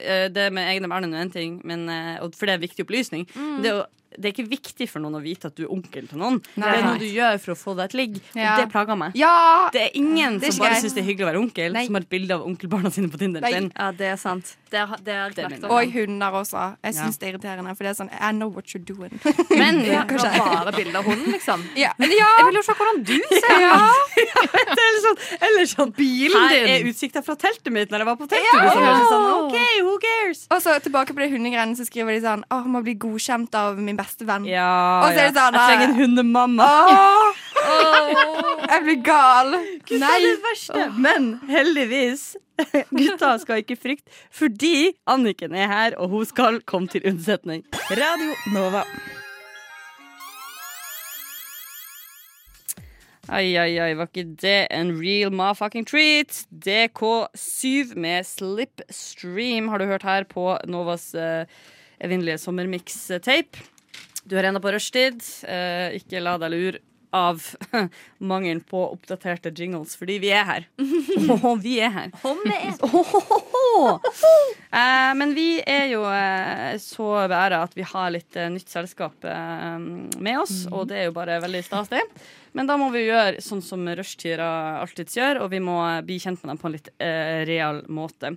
A: eh, Det med egne barn er nå en ting men, eh, og For det er en viktig opplysning det, er jo- det er ikke viktig for noen å vite at du er onkel til noen Det
D: Nei.
A: er noe du gjør for å få deg et ligg
D: Ja.
A: Og det plager meg
D: Ja!
A: det er ingen
D: Det er
A: som
D: ikke
A: bare
D: greit.
A: syns det er hyggelig å være onkel, som har et bilde av onkelbarna sine på Tinder.
D: Nei.
A: Sin.
C: Ja, det er sant. Det er, det er
A: Det er
C: knekt
A: min.
C: over.
D: Og hunder også. Jeg syns det er irriterende. For det er sånn I know what you're doing.
A: Men
C: Ja, det var bare bilde av hunden, liksom.
D: ja.
C: Jeg vil jo se hvordan du ser ut.
A: eller sånn, eller sånn Bilen Her
C: din.
A: er utsikta fra teltet mitt når jeg var på telttur. liksom. Jeg er sånn, OK, who cares?
D: Og så tilbake på det hundegreiene, så skriver de sånn Åh, må bli godkjent av min beste venn.
A: Ja,
D: Og så er det
A: ja.
D: sånn,
A: Jeg trenger en hundemamma.
D: Åh, jeg blir gal.
A: Gud, det er det verste. Men heldigvis, gutta skal ikke frykte, fordi Anniken er her, og hun skal komme til unnsetning. Radio Nova. Ai, ai, ai, var ikke det en real ma-fucking treat? DK7 med Slipstream har du hørt her på Novas eh, evinnelige sommermix-tape. Du har ennå på rushtid. Eh, ikke la deg lure av mangelen på oppdaterte jingles, fordi vi er her. Åh, vi er her. Åh. Eh, men vi er jo eh, så æra at vi har litt eh, nytt selskap eh, med oss, og det er jo bare veldig stas, det. Men da må vi jo gjøre sånn som rushtida alltids gjør, og vi må eh, bli kjent med dem på en litt eh, real måte.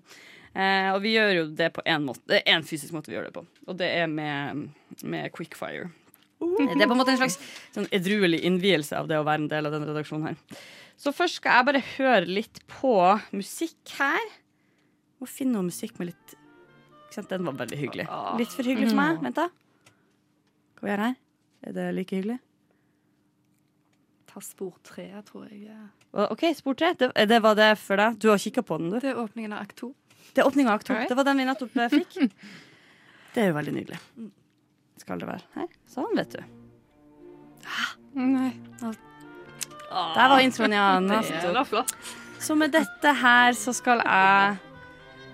A: Eh, og vi gjør jo det på én måte. Det er én fysisk måte vi gjør det på, og det er med, med quickfire. Det er på en måte en slags sånn edruelig innvielse av det å være en del av den redaksjonen her. Så først skal jeg bare høre litt på musikk her. Må finne noe musikk med litt ikke sant? Den var veldig hyggelig. Litt for hyggelig for meg. Vent, da. Hva vi gjør her? Er det like hyggelig?
C: Ta spor tre, tror jeg.
A: Å, OK, spor tre. Det, det var det for deg. Du har kikka på den, du.
C: Det er åpningen av akt to.
A: Det er åpning av akt to. Det var den vi nettopp eh, fikk. Det er jo veldig nydelig. Skal det være her? Sånn, vet du.
B: Nei.
A: Der var introen, ja.
C: Det
A: Nettopp.
C: var flott.
A: Så med dette her så skal jeg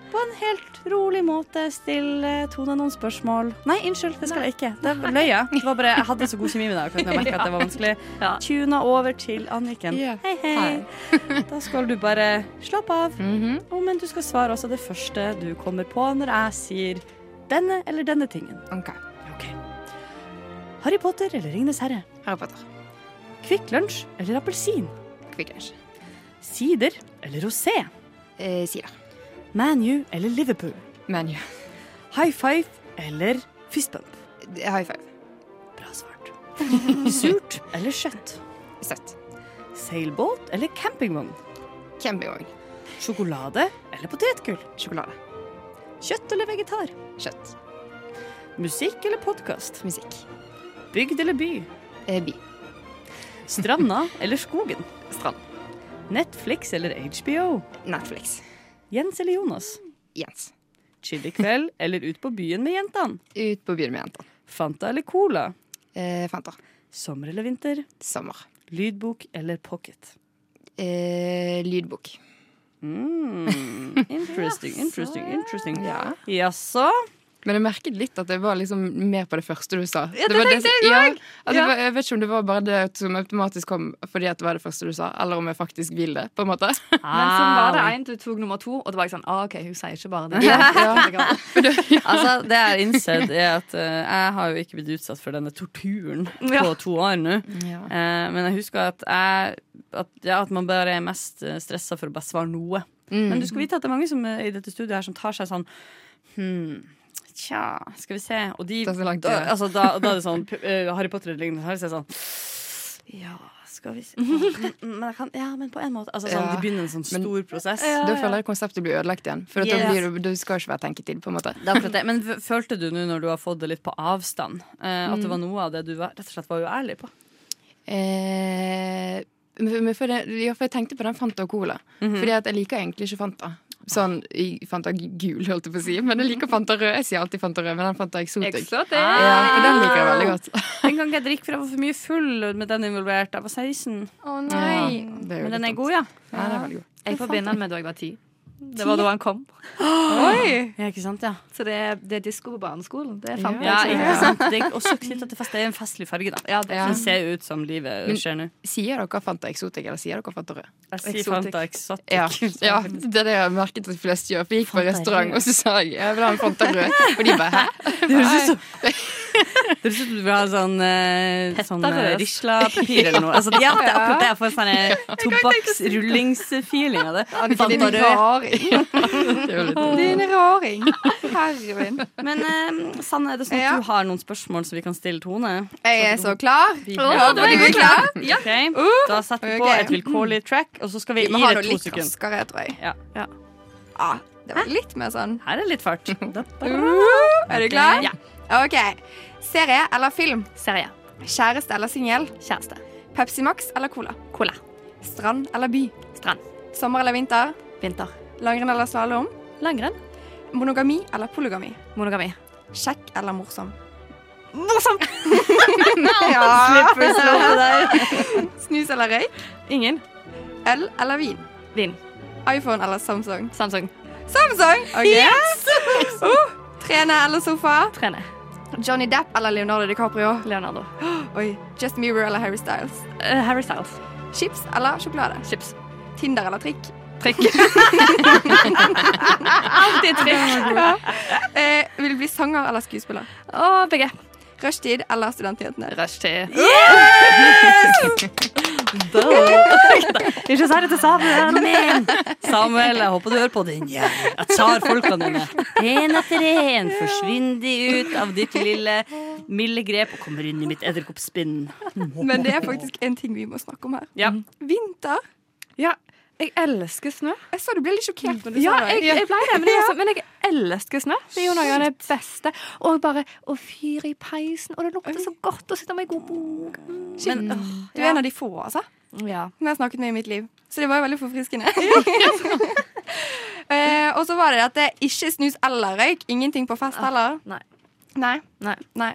A: på en helt rolig måte stille Tone noen spørsmål. Nei, unnskyld, det skal jeg ikke. Det løy jeg. Det var bare, jeg hadde så god kjemi med deg akkurat når jeg merket at det var vanskelig.
C: Ja.
A: Tuna over til Anniken.
B: Ja.
A: Hei, hei. Da skal du bare slappe av. Og men du skal svare også det første du kommer på når jeg sier denne eller denne tingen.
B: OK.
A: Ok. Harry Potter eller Ringenes herre?
B: Harry Potter.
A: Kvikk lunsj eller appelsin?
B: Quick Lunch.
A: Sider eller rosé?
B: Eh, sider.
A: ManU eller Liverpool?
B: Menu.
A: High five eller fist bump?
B: High five.
A: Bra svart. Surt eller kjøtt?
B: Søtt.
A: Seilbåt eller campingvogn?
B: Campingvogn.
A: Sjokolade eller potetgull?
B: Sjokolade.
A: Kjøtt eller vegetar?
B: Kjøtt.
A: Musikk eller podkast?
B: Musikk.
A: Bygd eller by?
B: Eh, bi.
A: Stranda eller skogen?
B: Strand.
A: Netflix eller HBO?
B: Netflix.
A: Jens eller Jonas?
B: Jens.
A: Chili-kveld eller ut på byen med jentene?
B: Ut på byen med jentene.
A: Fanta eller cola?
B: Eh, Fanta.
A: Sommer eller vinter?
B: Sommer.
A: Lydbok eller pocket?
B: Eh, lydbok.
A: Mm. Interesting, interesting, interesting.
B: Ja.
A: Jaså?
B: Men jeg merket litt at jeg var liksom mer på det første du sa. Ja, det, tenkte jeg òg! Jeg vet ikke om det var bare det som automatisk kom fordi at det var det første du sa, eller om jeg faktisk vil det, på en måte.
C: Men
A: sånn
C: så var det en du tok nummer to, og det var jeg sånn ah, OK, hun sier ikke bare det.
A: Altså, det jeg har innsett, er at eh, jeg har jo ikke blitt utsatt for denne torturen på
C: Ja.
A: to år nå.
B: Ja.
A: Eh, men jeg husker at, jeg, at, ja, at man bare er mest stressa for å bare svare noe.
B: Mm.
A: Men du skal vite at det er mange som, eh, i dette studioet her som tar seg sånn Hm, tja, skal vi se. Og de
B: Det er så langt
A: da,
B: unna.
A: altså, da, da er det sånn p- eh, Harry Potter eller lignende. Her, så er det sånn Ja, skal vi se Mm, Men jeg kan Ja, men på en måte. Altså, sånn,
B: Ja.
A: De begynner en sånn
B: Men-
A: stor prosess.
B: Da føler jeg konseptet blir ødelagt igjen. For at
A: Yes.
B: da blir du, du skal ikke være tenketid, på en måte.
A: Det er akkurat det. Men f- følte du nå når du har fått det litt på avstand, eh, at det var noe av det du var, rett og slett var uærlig på?
B: Eh, men men for, det, ja, for jeg tenkte på den Fanta og Cola.
A: Mhm.
B: Fordi at jeg liker egentlig ikke Fanta. Sånn i Fanta gul, holdt jeg på å si. Men jeg liker Fanta rød. Jeg sier alltid Fanta rød, men den Fanta Exotic.
C: Ah,
B: Ja, for den liker jeg veldig godt.
A: En gang jeg drikker, for jeg var for mye full med den involvert. Jeg var 16.
B: Nei. det
A: Men
B: litt
A: den er
B: dumt.
A: god, ja.
B: Ja, den er veldig god.
C: Jeg forbinder den med da jeg var ti. Det var da han kom.
A: Ja, ikke sant, ja.
C: Så det er, det er disko på barneskolen. Det fant
A: ja,
C: jeg.
A: ikke sant? Det er også knyttet til fest. Det er en festlig farge, da.
C: Ja, det
B: Ja.
A: Den ser ut som livet
B: Men-
A: skjer nå.
B: Sier dere Fanta Exotic, eller sier dere Fanta rød?
A: Jeg sier
C: Exotic.
A: Fanta Exotic.
B: Ja, ja, det er det jeg har merket at de fleste gjør. For jeg gikk på restaurant, og så sa jeg jeg vil ha en Fanta rød. Og de bare hæ?
A: Det høres ut som Det høres ut som du vil ha sånn, eh, sånn eh,
C: Petter-røs.
A: Risla-papir eller noe. Altså, ja, det er akkurat det. Jeg får sånn eh, tobakksrullings-feeling av det. Fanta rød.
B: Det er jo litt
D: Din raring. Herre min.
A: Men eh, Sanne, er det sånn at
D: Ja.
A: du har noen spørsmål som vi kan stille Tone?
D: Jeg er så klar.
A: Vi-
D: Ja, du er klar?
A: Ok, Da setter vi på
D: Ok.
A: et vilkårlig track, og så skal vi
D: Vi
A: gi
D: må ha
A: det
D: det
A: to
D: litt sånn.
A: sekunder.
D: raskere, tror jeg.
A: Ja.
D: Ah, Det var litt mer sånn.
A: Her er litt fart.
D: Er du klar? Ja. OK. Serie eller film?
C: Serie.
D: Kjæreste eller singel?
C: Kjæreste.
D: Pepsi Max eller Cola?
C: Cola.
D: Strand eller by?
C: Strand.
D: Sommer eller vinter?
C: Vinter.
D: Langrenn eller slalåm?
C: Langrenn.
D: Monogami eller polygami?
C: Monogami.
D: Kjekk eller morsom?
C: Morsomt!
D: Ja.
A: der.
D: Snus eller røyk?
C: Ingen.
D: Øl eller vin?
C: Vin.
D: iPhone eller Samsung?
C: Samsung.
D: Samsung! OK. Uh, trene eller sofa?
C: Trene.
D: Johnny Depp eller Leonardo DiCaprio?
C: Leonardo.
D: Oi. Justin Bieber eller Harry Styles?
C: Eh, Harry Styles.
D: Chips eller sjokolade?
C: Chips.
D: Tinder eller trikk?
C: Trikk. Alltid trikk.
D: Eh, vil du bli sanger eller skuespiller?
C: Og begge.
D: Rushtid eller Studentnyhetene?
C: Rushtid. Ikke si det til Samuel.
A: Samuel, jeg håper du hører på den. Ja, Jeg tar folkene dine. En etter en forsvinner de ut av ditt lille milde grep og kommer inn i mitt edderkoppspinn.
D: Men det er faktisk en ting vi må snakke om her.
A: Ja.
D: Vinter.
C: Ja, jeg elsker snø.
D: Jeg så du ble litt sjokkert når du
C: Ja,
D: sa det.
C: jeg, jeg ble det, men jeg, men jeg elsker snø. Det er jo noe av det beste. Og bare å fyre i peisen, og det lukter så godt å sitte med ei god bok. Mm.
A: Men
D: Du er en av de få, altså.
C: Ja.
D: Som jeg har snakket med i mitt liv. Så det var jo veldig forfriskende. Eh, og så var det dette ikke snus eller røyk. Ingenting på fest heller.
C: Nei.
D: Nei.
C: Nei.
D: Nei.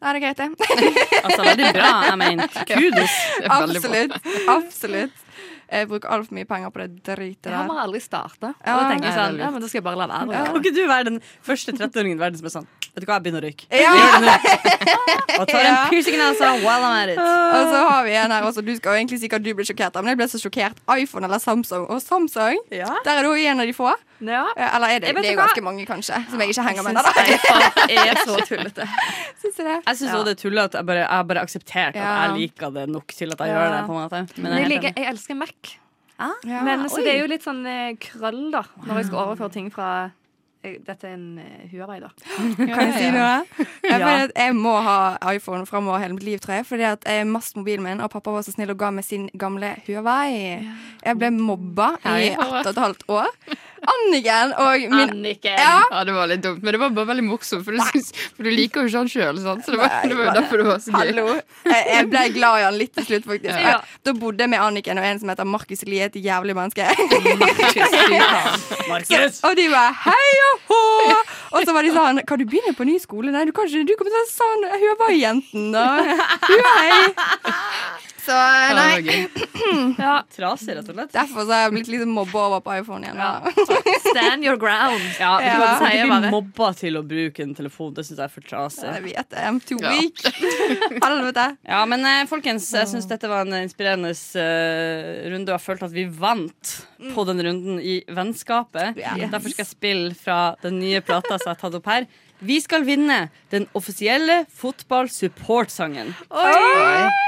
D: Nei, det er greit, det.
A: altså, veldig bra. Jeg mener, kudos.
B: Det er veldig bra.
D: Absolutt. Absolutt. Jeg bruker altfor mye penger på det dritet
C: Det har
D: der.
C: man aldri starta. Og
D: Ja.
C: da tenker
B: Nei,
C: jeg
B: det er
C: sånn, ja, men da skal jeg bare la være. å gjøre
A: Kan
C: det.
A: ikke du være den første 13-åringen i verden som er sånn Vet du hva, jeg begynner å røyke.
D: Ja,
A: Og tar en piercing i nesa while I'm at it.
D: og så har vi en her også. Du skal jo egentlig si hva du ble sjokkert av, men jeg ble så sjokkert. iPhone eller Samsung? Og Samsung,
A: Ja.
D: der er du jo en av de få.
C: Ja.
D: Eh, Eller er det,
C: Jeg vet
D: det er jo
C: hva-
D: ganske mange, kanskje, som jeg ikke henger med.
C: Syns
D: Da.
C: iPhone er så tullete.
D: Syns du det?
A: Jeg syns også det er tullete. Jeg bare- jeg har bare akseptert at
D: Ja.
A: jeg liker det nok til at jeg
C: Ja.
A: gjør det. på en måte Men
C: Men
A: jeg er
C: jeg,
A: helt
C: liker,
A: enig.
C: jeg elsker Mac.
D: Ja.
C: Ah, Men, så det er jo litt sånn eh, krøll, da, når jeg skal overføre ting fra eh, Dette er en eh, Huawei, da.
D: Kan jeg si noe?
A: Ja.
D: Jeg, føler at jeg må ha iPhone framover hele mitt liv, tror jeg. Fordi at jeg mast mobilen min, og pappa var så snill og ga meg sin gamle Huawei. Jeg ble mobba i
B: Hei.
D: ett og et halvt år. Anniken og min
C: Anniken.
D: Ja,
B: Ja, det var litt dumt, men det var bare veldig morsomt, for du, syns- for du liker jo ikke han sjøl, sant? Så det var, det var jo derfor det var så gøy.
D: hallo. Jeg, jeg ble glad i han litt til slutt, faktisk.
B: Ja.
D: Da bodde jeg med Anniken og en som heter Markus Lie, et jævlig menneske.
A: Markus!
D: Og de var hei og hå! Og så var de sånn Kan du begynne på ny skole? Nei, du kan ikke. Du kommer til å være sånn Huawei-jenten. og Huawei. Så
B: Ja, det
D: nei.
B: var gøy.
C: Ja.
A: Trasig, rett og slett.
D: Derfor så har jeg blitt litt mobba over på iPhone igjen. da.
C: Stand your ground.
A: Ja, du
D: Ja.
A: kan
C: Sier
A: ikke
C: jeg
A: bli
C: bare.
A: mobba til å bruke en telefon. Det syns jeg er for trasig.
D: Jeg vet det. I'm too
B: Ja.
D: weak. Helvete.
A: Ja, men eh, folkens, jeg syns dette var en inspirerende eh, runde. Og jeg følte at vi vant
C: Mm.
A: på den runden i vennskapet.
D: Yes.
A: Derfor skal jeg spille fra den nye plata som jeg har tatt opp her. Vi skal vinne den offisielle fotballsupportsangen.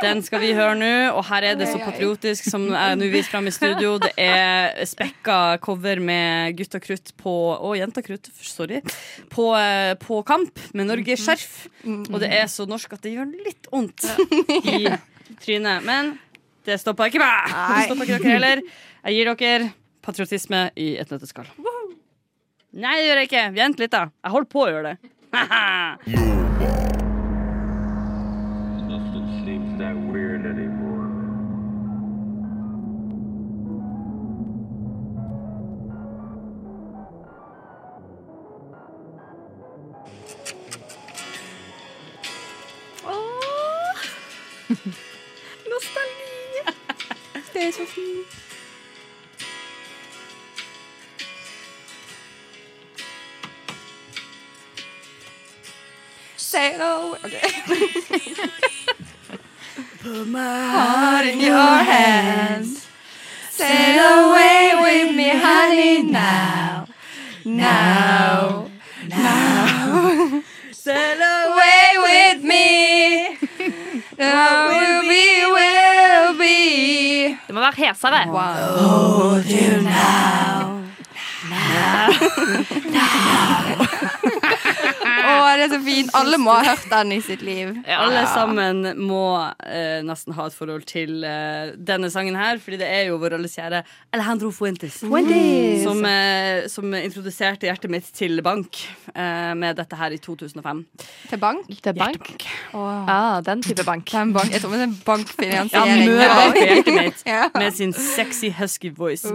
A: Den skal vi høre nå, og her er det så patriotisk som jeg nå viser fram i studio. Det er spekka cover med gutt og krutt på Og jentakrutt, sorry. På, eh, på kamp med Norge-skjerf. Og det er så norsk at det gjør litt vondt i trynet. Men det stoppa ikke meg. Det stoppa ikke dere heller. Jeg gir dere patriotisme i et nøtteskall. Nei, det gjør jeg ikke. Vent litt, da. Jeg holder på å gjøre det.
G: Nothing seems that weird anymore.
D: Det er så fint. Sail away Put my heart in your hands. Sail away with me, honey, now. Now.
A: Sail
D: away with me. Now will be, will be.
C: Det må være hesere.
D: Og det er så fin. Alle må ha hørt den i sitt liv.
A: Alle sammen må eh, nesten ha et forhold til eh, denne sangen her, fordi det er jo vår alles kjære Alejandro Fuentes. Som, eh, som introduserte hjertet mitt til bank eh, med dette her i 2005.
D: Til bank.
C: Til bank. Ah, den type bank.
D: Den bank. Jeg tror det er en
A: Ja,
D: bankfinansiering.
A: Møbank er hjertet mitt
D: Ja.
A: med sin sexy husky voice.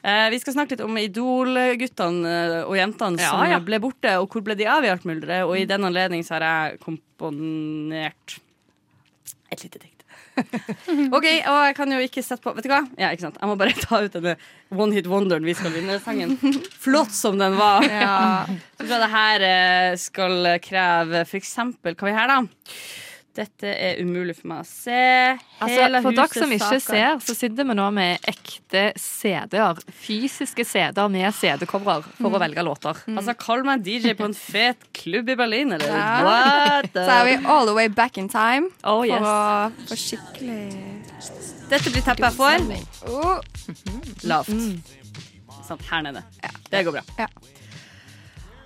A: Eh, vi skal snakke litt om Idol-guttene eh, og jentene som
C: Ja, ja.
A: ble borte, og hvor ble de av i alt mulderet. Og i den anledning så har jeg komponert et lite dikt. OK, og jeg kan jo ikke sette på Vet du hva? Ja, ikke sant? Jeg må bare ta ut denne One Hit Wonderen vi skal vinne-sangen. Flott som den var. Så tror jeg det her eh, skal kreve for eksempel Hva er vi her, da? Dette er umulig for meg å se.
C: Altså, for dere som ikke
A: saker.
C: ser, så sitter vi nå med ekte CD-er. Fysiske CD-er med CD-covrer for å velge låter.
A: Altså, kall meg DJ på en fet klubb i Berlin, eller
D: Ja.
A: what?
D: Så er vi all the way back in time
C: Oh,
D: for
C: yes.
D: å få skikkelig
A: Dette blir teppet jeg får.
D: oh.
A: Lavt. Sånn, her nede. Det går bra.
D: Mm. Ja.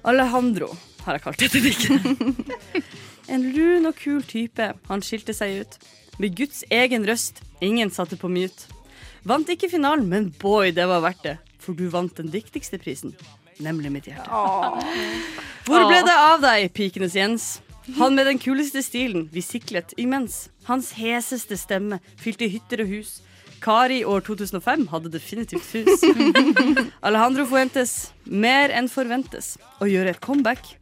A: Alejandro har jeg kalt dette diktet. en lun og kul type. Han skilte seg ut. Med Guds egen røst. Ingen satte på mute. Vant ikke finalen, men boy, det var verdt det. For du vant den viktigste prisen. Nemlig mitt hjerte. Hvor ble det av deg, pikenes Jens? Han med den kuleste stilen vi siklet imens. Hans heseste stemme fylte hytter og hus. Kari år 2005 hadde definitivt hus. Alejandro Fuentes, mer enn forventes, å gjøre et comeback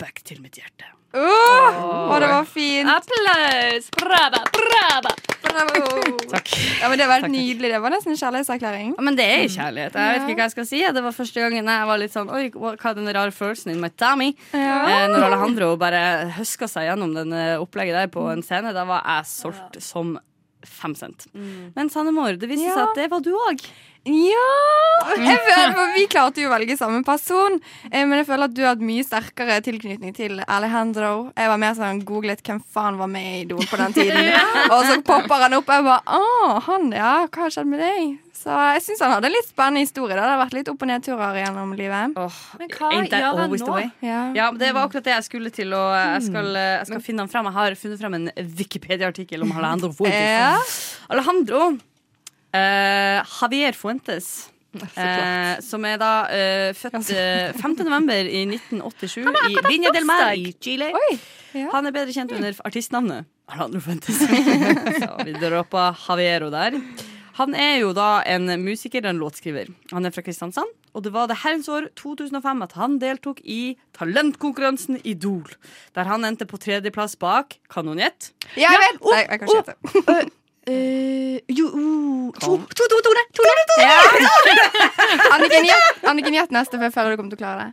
A: back til mitt hjerte.
D: Oh. Å, det var fint.
C: Ah. Applaus! Brava, brava!
A: Takk.
D: Ja, men det var helt nydelig. Det var nesten en kjærlighetserklæring.
A: Ja, men det er
C: Mm.
A: kjærlighet. Jeg vet ikke hva jeg skal si. Det var første gangen jeg var litt sånn Oi, hva hva er den rare følelsen in my tummy? Eh, når Alejandro bare høska seg gjennom den eh, opplegget der på en scene, da var jeg solgt som fem cent.
C: Mm.
A: Men sanne mor, det viste seg at det var du òg.
D: Ja! Jeg føler, for vi klarte jo å velge samme person, eh, men jeg føler at du har hatt mye sterkere tilknytning til Alejandro. Jeg var mer sånn googlet hvem faen var med i Idol på den tiden, og så popper han opp. Jeg bare Å, han, ja. Hva har skjedd med deg? Så jeg syns han hadde en litt spennende historie. da. Det har vært litt opp- og nedturer gjennom livet.
C: Men hva gjør han nå? Mm.
D: Ja.
A: Ja, men Det var akkurat det jeg skulle til, og jeg skal, eh, jeg skal finne han fram. Jeg har funnet fram en Wikipedia-artikkel om Alejandro Fuentes.
D: Ja.
A: Alejandro eh, Javier Fuentes. Eh, som er da eh, født eh, 5. november i 1987 i Viña del Mar i Chile.
D: Oi, ja.
A: Han er bedre kjent under artistnavnet Alejandro Fuentes. Så vi droppa Javiero der. Han er jo da en musiker og en låtskriver. Han er fra Kristiansand, og det var det herrens år 2005 at han deltok i talentkonkurransen Idol, der han endte på tredjeplass bak Kanonjet.
D: Ja, jeg vet! Nei, jeg kan
A: Oh,
D: ikke gjette. Anniken, gjett- Anniken, gjett neste, for jeg føler du kommer til å klare det.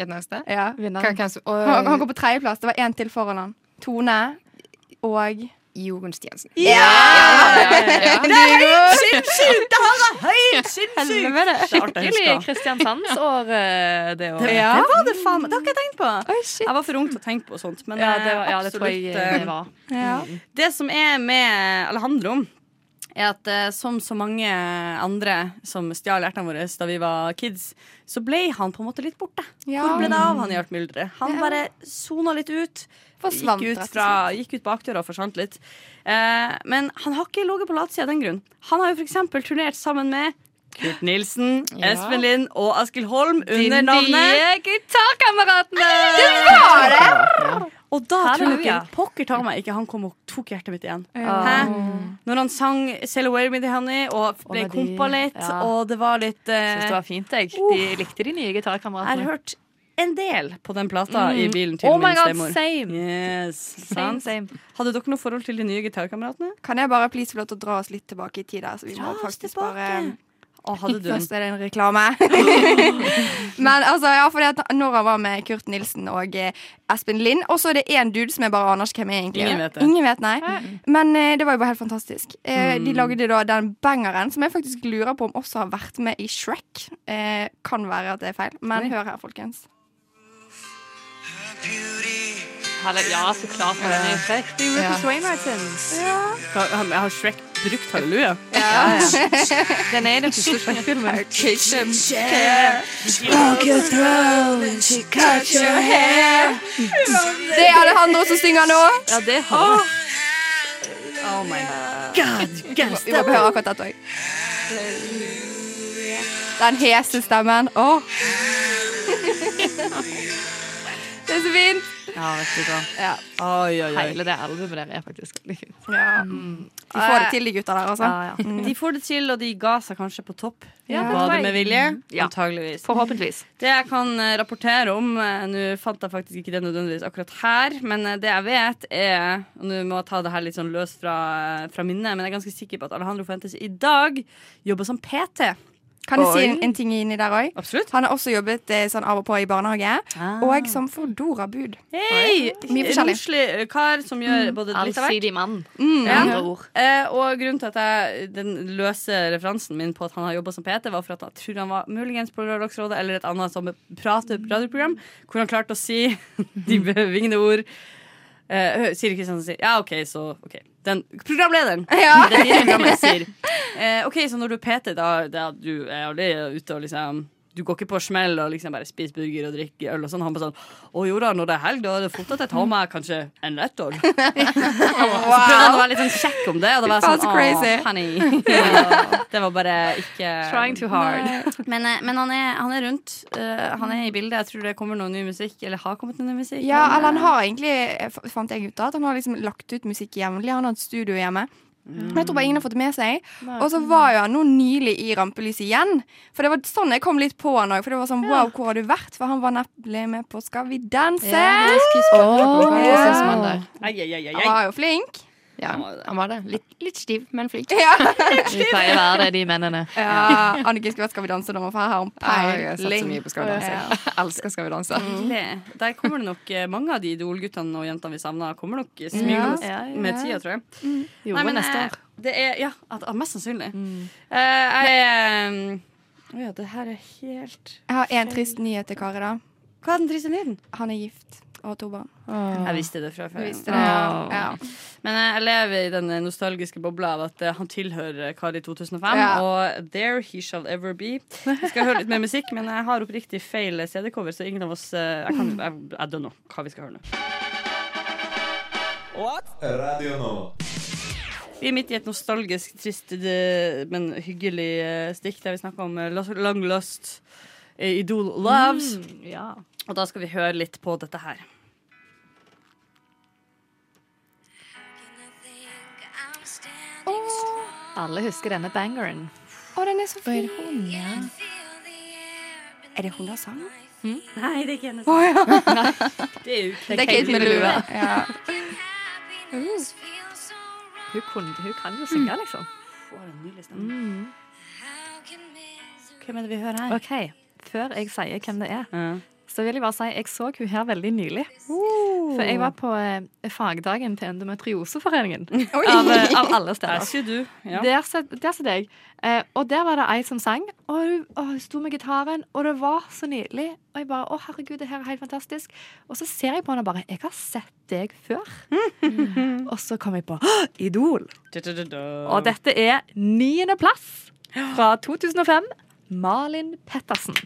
B: Gjett neste.
D: Ja.
B: Hva- hvem som- og-
D: Han, han går på tredjeplass. Det var én til foran han. Tone og
B: Jorunn Stiansen.
A: Sinnssykt! Det her er helt sinnssykt! Det er artig å huske.
C: Skikkelig Kristiansandsår, eh, det
A: Det,
C: òg.
A: det var det faen meg. Det har ikke jeg tenkt på.
D: Oi, shit.
A: Jeg var for ung til å tenke på sånt. Men
C: Ja,
A: eh,
C: det var- ja, det tror
A: absolutt
C: jeg
A: eh,
C: det var.
D: Ja.
A: Det som er med Alejandro er at eh, som så mange andre som stjal hjertene våre da vi var kids, så ble han på en måte litt borte. Hvor ble det av han i alt mylderet? Han
D: Ja.
A: bare sona litt ut.
D: Forsvant,
A: gikk,
D: rett og
A: ut fra, gikk ut bakdøra og forsvant litt. Eh, men han har ikke ligget på latsida av den grunn. Han har jo f.eks. turnert sammen med Kurt Nilsen, Espen Lind og Askild Holm under navnet
C: gitarkameratene!
A: Og da tror jeg
C: Halleluja.
A: ikke- pokker ta meg ikke han kom og tok hjertet mitt igjen. Hæ? Når han sang 'Sail Away With The Honey' og ble
C: med de-
A: kompa litt,
C: ja.
A: og det var litt eh,
C: Syns det var fint, jeg. De likte de nye
A: Jeg har
C: gitarkameratene.
A: hørt en del på den plata i bilen til
C: Oh
A: min
C: my god,
A: stemor.
C: same.
A: Yes,
C: Same,
A: sant?
C: same.
A: Hadde dere noe forhold til de nye gitarkameratene?
D: Kan jeg bare please få lov til å dra oss litt tilbake i tid? der, Så vi må
A: Dra oss
D: faktisk
A: tilbake.
D: bare
A: Å, hadde du
D: Først er det en reklame. Men altså, ja, fordi at når han var med Kurt Nilsen og eh, Espen Lind, og så er det én dude som jeg bare aner ikke hvem er, egentlig.
A: Ingen vet det.
D: Ingen vet, nei. Men eh, det var jo bare helt fantastisk. Eh,
A: Mm.
D: De lagde da den bangeren som jeg faktisk lurer på om også har vært med i Shrek. Eh, kan være at det er feil, men hør her, folkens.
C: Halle- Ja, så klart var den effekt.
B: Ja.
A: Har Shrek brukt halleluja?
D: Ja,
C: Den er i den første skrekkfilmen.
D: Det er Alejandro som synger nå.
C: Ja, det har Oh jeg.
A: God, yes.
D: Vi må høre akkurat dette òg. Den hese stemmen. Åh. Det er så fint.
C: Ja, vet du hva.
D: Ja.
A: Oi, oi, oi.
C: Hele det albumet der er faktisk veldig fint.
D: ja. De får det til, de gutta der, altså.
C: Ja, ja.
A: De får det til, og de ga seg kanskje på topp.
C: Ja, det
A: Var
C: tror
A: det
C: jeg.
A: med vilje?
C: Ja.
A: Antageligvis.
C: Forhåpentligvis.
A: Det jeg kan eh, rapportere om eh, Nå fant jeg faktisk ikke det nødvendigvis akkurat her, men eh, det jeg vet, er og Nå må jeg ta det her litt sånn løs fra, fra minnet, men jeg er ganske sikker på at Alejandro Fuentes i dag jobber som PT.
D: Kan jeg si
A: Oi.
D: en, en ting inni der òg?
A: Absolutt.
D: Han har også jobbet eh, sånn av og på i barnehage. Og
B: Ah.
D: som Fodora-bud.
A: Hei!
D: Mye forskjellig.
A: Roslig eh, kar som gjør både litt av hvert.
C: Allsidig mann, med
A: Ja.
C: Mm. andre ord.
A: Eh, og grunnen til at jeg, den løse referansen min på at han har jobba som PT, var for at jeg tror han var muligens på Lørdagsrådet eller et annet sånn prate- radioprogram, hvor han klarte å si de bevingede ord. Eh, Siri Kristiansen sier ja, OK, så OK. Den programlederen.
D: Ja.
A: Den nye programlederen sier eh, OK, så når du er PT, da, da du er aldri ute og liksom du går ikke på smell og liksom bare spiser burger og drikker øl og sånn. Han bare sånn Å jo da, når det er helg, da er det fort at jeg tar meg kanskje en lettøl.
D: Altså,
A: Så prøvde han å være litt sånn kjekk om det, og det var
D: Faen,
A: sånn
D: så
A: Å,
D: crazy."
A: honey. Ja, Det var bare ikke
C: Trying too hard.
A: Men, eh, men han, er, han er rundt. eh, han er i bildet. Jeg tror det kommer noe ny musikk. Eller har kommet noe ny musikk.
D: Ja,
A: Men,
D: eller han har egentlig eh, f- Fant jeg ut da At han har liksom lagt ut musikk jevnlig. Han har et studio hjemme.
B: Mm.
D: Men Jeg tror bare ingen har fått det med seg. Og så var jo han nå nylig i rampelyset igjen. For det var sånn jeg kom litt på han òg. For det var sånn wow, hvor har du vært? For han var nemlig med på Skal vi danse.
B: Oh,
D: Ja.
B: ja.
A: Ai, ai, ai, ai,
D: Han
A: ai.
D: var jo flink.
B: ja, han var det. Litt, litt stiv, men flink.
C: De pleier å være det, de mennene.
D: Ja, Anniken skulle vært Skal vi danse når man får her om
B: Jeg har sett så mye
D: peiling.
B: på Skal vi danse. Jeg elsker Skal vi danse.
A: Hyggelig. Der kommer det nok eh, mange av de idolguttene og jentene vi savna, kommer nok smygende
C: Ja, ja, ja.
A: med tida, tror jeg.
C: Jo,
A: Nei, men,
C: neste
A: eh,
C: år.
A: Det er, ja, at, at mest sannsynlig. Eh, jeg er Å ja, det her er helt
D: Jeg har en trist nyhet til Kari, da.
A: Hva er den triste nyheten?
D: Han er gift og har to barn.
A: Jeg visste det fra før.
D: Visste det, ja.
C: Åh.
D: Ja.
A: Men jeg jeg lever i den nostalgiske bobla av at eh, han tilhører Kari 2005.
D: Ja.
A: Og there he shall ever be. Vi skal høre litt mer musikk, men jeg har oppriktig feil CD-cover, så ingen av oss eh, Jeg, kan, jeg, jeg don't know hva vi skal høre nå.
E: What? Radio Nova.
A: Vi er midt i et nostalgisk, trist, eh, men hyggelig eh, stikk der vi snakker om eh, lo- long lost eh, Idol loves.
C: Mm, ja.
A: Og da skal vi høre litt på dette her.
C: Alle husker denne bangeren.
D: Å, den er så fin. Er det hun som har sang?
A: Nei, det er ikke hennes. Det er jo
D: Det er Kate med lue. Ja. Mm.
C: Hun, kunne, hun kan jo synge,
A: Mm.
C: liksom.
A: Får en nydelig stemme. Mm. Hvem er det vi hører her?
C: OK, før jeg sier hvem det er, så vil jeg bare si jeg så hun her veldig nylig. For
A: Oh.
C: jeg var på eh, fagdagen til Endometrioseforeningen. Av, eh, av alle
A: Der
C: steder.
A: sier du. Ja.
C: Der satt der satt jeg. Eh, og der var det ei som sang, og hun, og hun sto med gitaren, og det var så nydelig. Og jeg bare Å, herregud, det her er helt fantastisk. Og så ser jeg på henne og bare Jeg har sett deg før. og så kom jeg på «Åh, Idol. Og dette er niendeplass fra 2005. Malin Pettersen.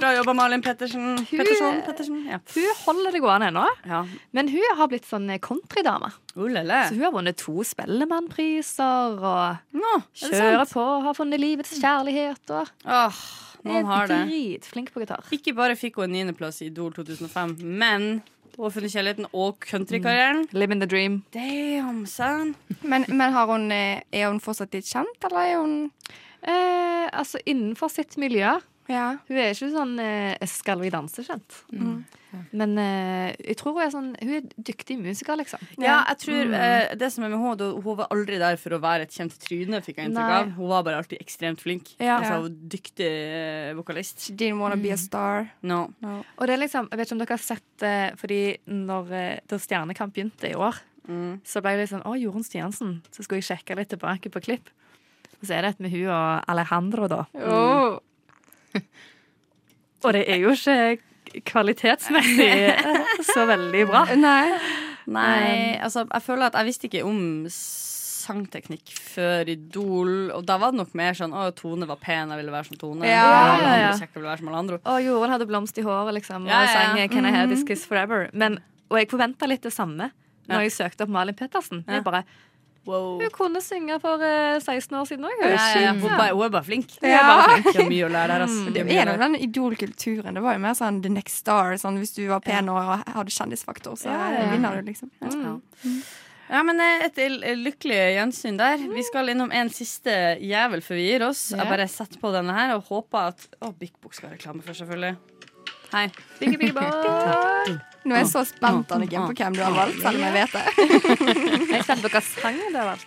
A: Bra jobba, Malin Pettersen. Petterson, Pettersen. Ja.
C: Hun holder det gående ennå,
A: ja.
C: men hun har blitt sånn countrydame.
A: Oh, lele.
C: Så hun har vunnet to Spellemannpriser og
A: Nå, er det
C: kjører
A: sant?
C: på og har funnet livets kjærlighet og
A: Åh, noen har det.
C: dritflink på gitar.
A: Ikke bare fikk hun en niendeplass i Idol 2005, men hun har funnet kjærligheten og countrykarrieren.
C: Living the dream.
A: Mm. Damn, son.
D: Men, men har hun, eh, er hun fortsatt litt kjent, eller er hun
C: Eh, altså innenfor sitt miljø.
D: Ja.
C: Hun er ikke sånn eh, 'skal vi danse'-kjent. Men eh, jeg tror hun er sånn Hun er dyktig musiker, liksom.
A: Ja, jeg tror eh, det som er med henne, da, hun var aldri der for å være et kjent tryne, fikk jeg inntrykk
C: Nei.
A: av. Hun var bare alltid ekstremt flink.
D: Ja.
A: Altså, hun var dyktig eh, vokalist.
D: She didn't wanna be a star.
A: No.
C: Og det er liksom, jeg vet ikke om dere har sett eh, Fordi når, eh, da Stjernekamp begynte i år Så ble det litt sånn, å Jorunn Stiansen Så skulle jeg sjekke litt tilbake på klipp Og så er det et med hun og Alejandro da Og det er jo ikke kvalitetsmessig eh, Så veldig bra
D: Nei. Ehm.
A: Nei, altså, jeg føler at jeg visste ikke om s- sangteknikk før Idol, og da var det nok mer sånn å, Tone var pen, jeg ville være som Tone.
D: Ja,
A: Alle andre
C: ja, ja.
A: kjekke ville være som alle andre.
C: Og Jorunn hadde blomst i håret liksom,
A: Ja, ja,
C: og
A: ja.
C: sang eh, 'Can I Have This Kiss Forever'. Men, og jeg forventa litt det samme når jeg søkte opp Malin Pettersen. Jeg bare,
A: Wow.
C: Hun kunne synge for eh, 16 år siden òg.
A: Ja, ja, ja. Hun, er bare, hun er bare flink. Hun er
D: Ja. Mm.
A: bare flink. Det er mye å lære her, altså.
D: Det er jo en av den idolkulturen. Det var jo mer sånn The Next Star. Sånn, hvis du var pen og hadde kjendisfaktor, så vinner du, liksom.
A: Ja. Ja, men eh, et l- lykkelig gjensyn der. Vi skal innom en siste jævel før vi gir oss. Jeg bare setter på denne her og håper at Å, Big Book skal ha reklame for, selvfølgelig. Hei.
D: Nå er jeg så spent, Anniken, på hvem du har valgt, selv om jeg vet det.
C: Jeg sendte dere sangen det var.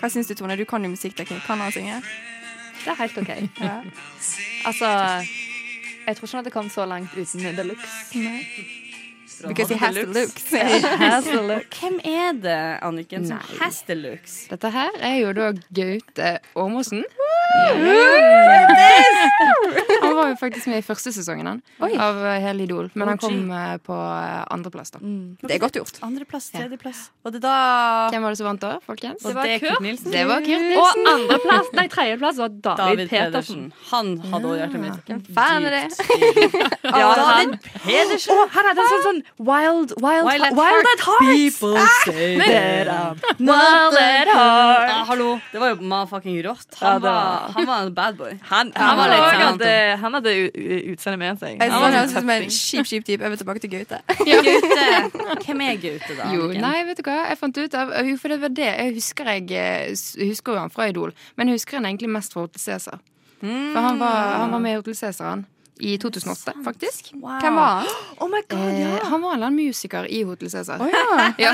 D: Hva syns du, Tone? Du kan jo musikkteknikk. Kan han synge?
C: Det er helt OK.
D: Ja.
C: Altså Jeg tror ikke hun hadde kommet så langt uten The Looks.
D: Because he has the looks.
A: Hasdelux. Hvem er det, Anniken, som Hasdelux?
B: Dette her er jo da Gaute Åmåsen. Han var jo faktisk med i første sesongen han, av eh, hele Idol, men han
A: OG.
B: kom eh, på eh, andreplass. da.
D: Det er godt gjort.
A: Andreplass, tredjeplass.
D: Og det da
B: Hvem var det som vant da, folkens?
A: Og det er Kurt Nilsen.
B: Det var Kurt Nilsen.
C: Og andreplass, nei, tredjeplass var David,
A: David
C: Petersen.
A: Pedersen. Han hadde også hjertet mitt. Hvem
D: faen er det?
A: Ja, David Pedersen.
C: Å, han hadde en sån- sånn, wild, wild,
A: Wild at
C: wild
A: heart. Ah!
C: at heart.
A: People say that I'm
C: Wild at heart.
A: Ja, Ah, hallo. Det var jo motherfucking rått.
C: Ja,
A: Han
C: det var-
A: var, han var en bad boy. Han,
C: Han,
A: var litt sånn-
C: hadde, eh, han hadde u- u- utseende med
D: Jeg
C: seg.
A: Ja,
D: synes
A: men
D: han høres ut som en kjip, kjip type. Jeg vil tilbake til Gaute.
A: Gaute. Hvem er Gaute, da?
B: Jo,
A: Anniken?
B: nei, vet du hva? Jeg fant ut av Jo, for det var det. Jeg husker, jeg, eh, s- husker jo han fra Idol, men jeg husker han egentlig mest fra Hotel Cæsar. For han var, han var med i Hotel Cæsar, han. I 2008, faktisk.
D: Hvem var han?
C: Oh my god,
B: Eh, han var en eller annen musiker i Hotel Cæsar.
D: Ja.
B: Ja.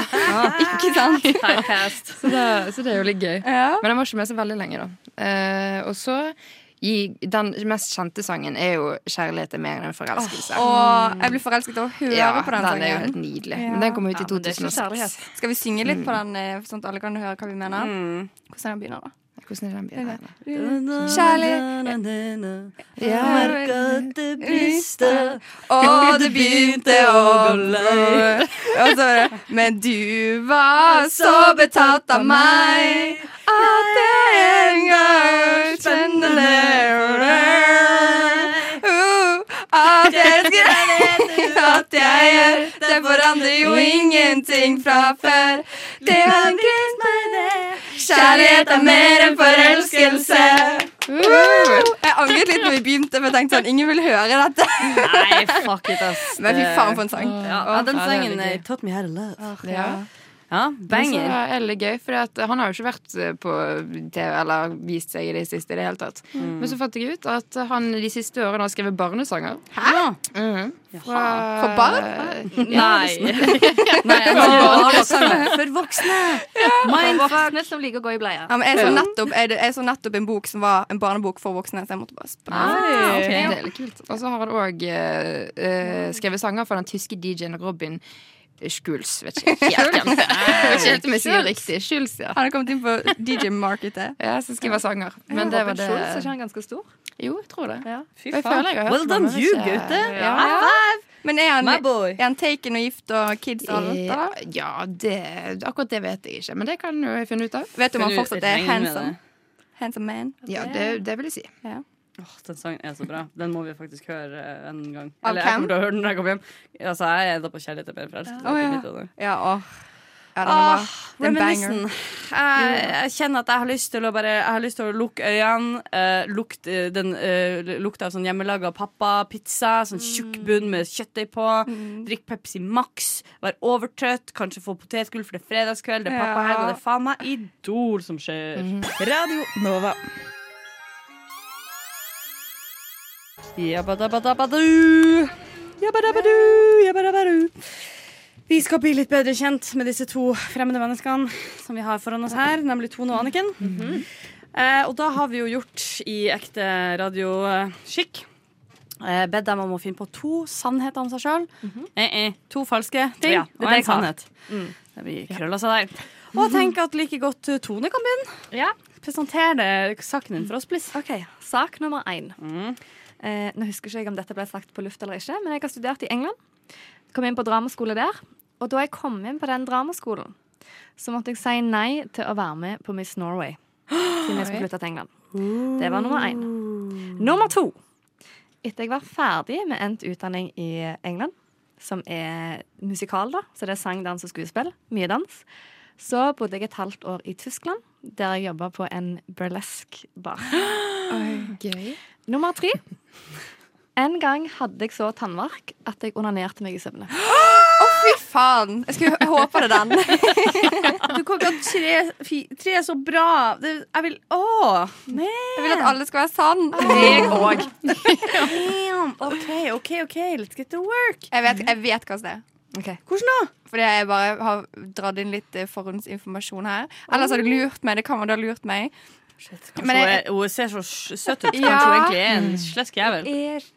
D: Ikke
C: Eh,
D: sant?
A: Typecast.
B: Så, det- så det er jo litt gøy.
D: Ja.
B: Men han var ikke med så veldig lenge, da. Eh, og så i, Den mest kjente sangen er jo 'Kjærlighet er mer enn forelskelse'.
D: Og jeg blir forelsket av å høre
B: ja,
D: på den
B: den er jo helt
D: sangen.
B: nydelig.
D: Ja.
B: Men Den kom ut i
C: Ja, men det er ikke
B: 2006.
C: kjærlighet.
D: Skal vi synge litt på den, eh, sånn at alle kan høre hva vi mener? Hvordan den begynner, da?
B: Hvordan er den byen?
A: Kjærlighet.
B: Ja.
A: det brister.
D: Og det begynte å gå
A: løy.
D: Og så var det Men du var så betatt av meg at jeg en gang kjente det Uh, At jeg elsker deg, at jeg gjør. Det forandrer jo ingenting fra før. Det var greit med det. Kjærlighet er mer enn forelskelse. Uh, Jeg angret litt når vi begynte, for jeg tenkte sånn Ingen vil høre dette.
A: Nei, fuck it, ass.
D: Men fy faen for en sang.
A: Ja, ja, den
B: Ja, det er
A: sangen
B: veldig
A: eh,
B: gøy.
A: Taught Me How to Love.
B: Ja.
A: Ja,
B: Men
A: banger.
B: så er det litt gøy, for at han har jo ikke vært eh, på TV eller vist seg i det siste i det hele tatt. Men så fant jeg ut at han de siste årene har skrevet barnesanger.
A: Ja.
B: Fra,
D: For barn?
A: Nei. Nei jeg må bare sange for voksne. Mindfuck.
C: Voksne som liker å gå i bleie.
D: Ja, men jeg, så nettopp, jeg, jeg så nettopp en bok som var en barnebok for voksne, så jeg måtte bare spørre.
B: Ah, Det er litt kult. Og så har han òg skrevet sanger for den tyske DJ-en Robin Schulz. Vet ikke helt hvem det er. Vet ikke helt om jeg sier riktig. Schulz, ja.
D: Han er kommet inn på DJ-markedet.
B: Ja, Som skriver sanger. Men det var det.
C: Schultz, er ikke han ganske stor?
B: Jo, jeg tror det.
C: Ja.
A: Fy
B: Jeg føler jeg har hørt
A: Well
B: om
A: done
B: han,
A: you,
B: men ikke-
A: Gaute.
B: Ja.
A: High five.
D: Men er han,
A: My boy. Eh,
D: er han taken og gift og kids og alt
B: Ja,
D: da?
B: ja det, akkurat det vet jeg ikke, men det kan jo jeg finne ut av.
D: Vet du om han
A: Men du,
D: fortsatt er
A: regner med
D: handsome? Handsome man?
B: Ja, det, det vil jeg si.
A: det. Åh, den sangen er så bra. Den må vi faktisk høre eh, en gang.
D: Av
A: Eller jeg
D: hvem?
A: kommer til å høre den når jeg kommer hjem. Altså, jeg er enda på kjærlighet til mer forelskelse.
D: Å, ja.
A: Det er mitt av det.
D: Ja, åh. Ja, den er
A: Ah,
D: bra. Det er en banger.
A: Reminiscen. Jeg, jeg kjenner at jeg har lyst til å bare Jeg har lyst til å lukke øynene. eh, lukt, eh, den eh, lukta av sånn hjemmelaga pappa-pizza. Sånn tjukk bunn med kjøttdeig på.
D: Mm.
A: Drikk Pepsi Max. Være overtrøtt. Kanskje få potetgull, for det er fredagskveld. Det er
D: Ja.
A: pappahelg, og det er faen meg Idol som skjer. Radio Nova. Jabba-dabba-dabba-du. Jabba-dabba-du. Jabba-dabba-du. Vi skal bli litt bedre kjent med disse to fremmede menneskene som vi har foran oss her, nemlig Tone og Anniken. eh, og da har vi jo gjort i ekte radioskikk eh, bedt dem om å finne på to sannheter om seg sjøl. eh, eh, to falske ting
C: Mhm. Ja,
A: og
C: det er det Mm.
A: en
C: jeg har.
A: sannhet. Det blir krøll av seg der. Og tenk at like godt eh, Tone kan begynne.
C: Ja.
A: Presenter det saken din for oss, please.
C: OK, sak nummer én. Eh, nå husker ikke jeg om dette ble sagt på luft eller ikke, men jeg har studert i England. Kom inn på dramaskole der. Og da jeg kom inn på den dramaskolen, så måtte jeg si nei til å være med på Miss Norway. Siden jeg skulle flytte til England. Det var nummer én. Nummer to. Etter jeg var ferdig med endt utdanning i England, som er musikal, da, så det er sang, dans og skuespill, mye dans, så bodde jeg et halvt år i Tyskland, der jeg jobba på en burlesque-bar.
B: Gøy.
C: Nummer tre. En gang hadde jeg så tannverk at jeg onanerte meg i søvne.
D: Fy faen! Jeg, skulle, jeg håper det er den.
A: Du kom til å ha tre, fi- tre så bra det, Jeg vil Å!
D: Jeg vil at alle skal være sann.
C: Jeg òg.
A: Damn! OK, OK, OK, let's get to work.
D: Jeg vet, jeg vet hva som er.
A: Hvordan da?
D: Fordi jeg bare har dratt inn litt eh, forhåndsinformasjon her. Ellers har du lurt meg. Det kan man da ha lurt meg.
A: Kanskje hun,
D: Men jeg-
A: er, hun ser så sj- søt ut. Kanskje
D: Ja.
A: hun egentlig er en slesk jævel.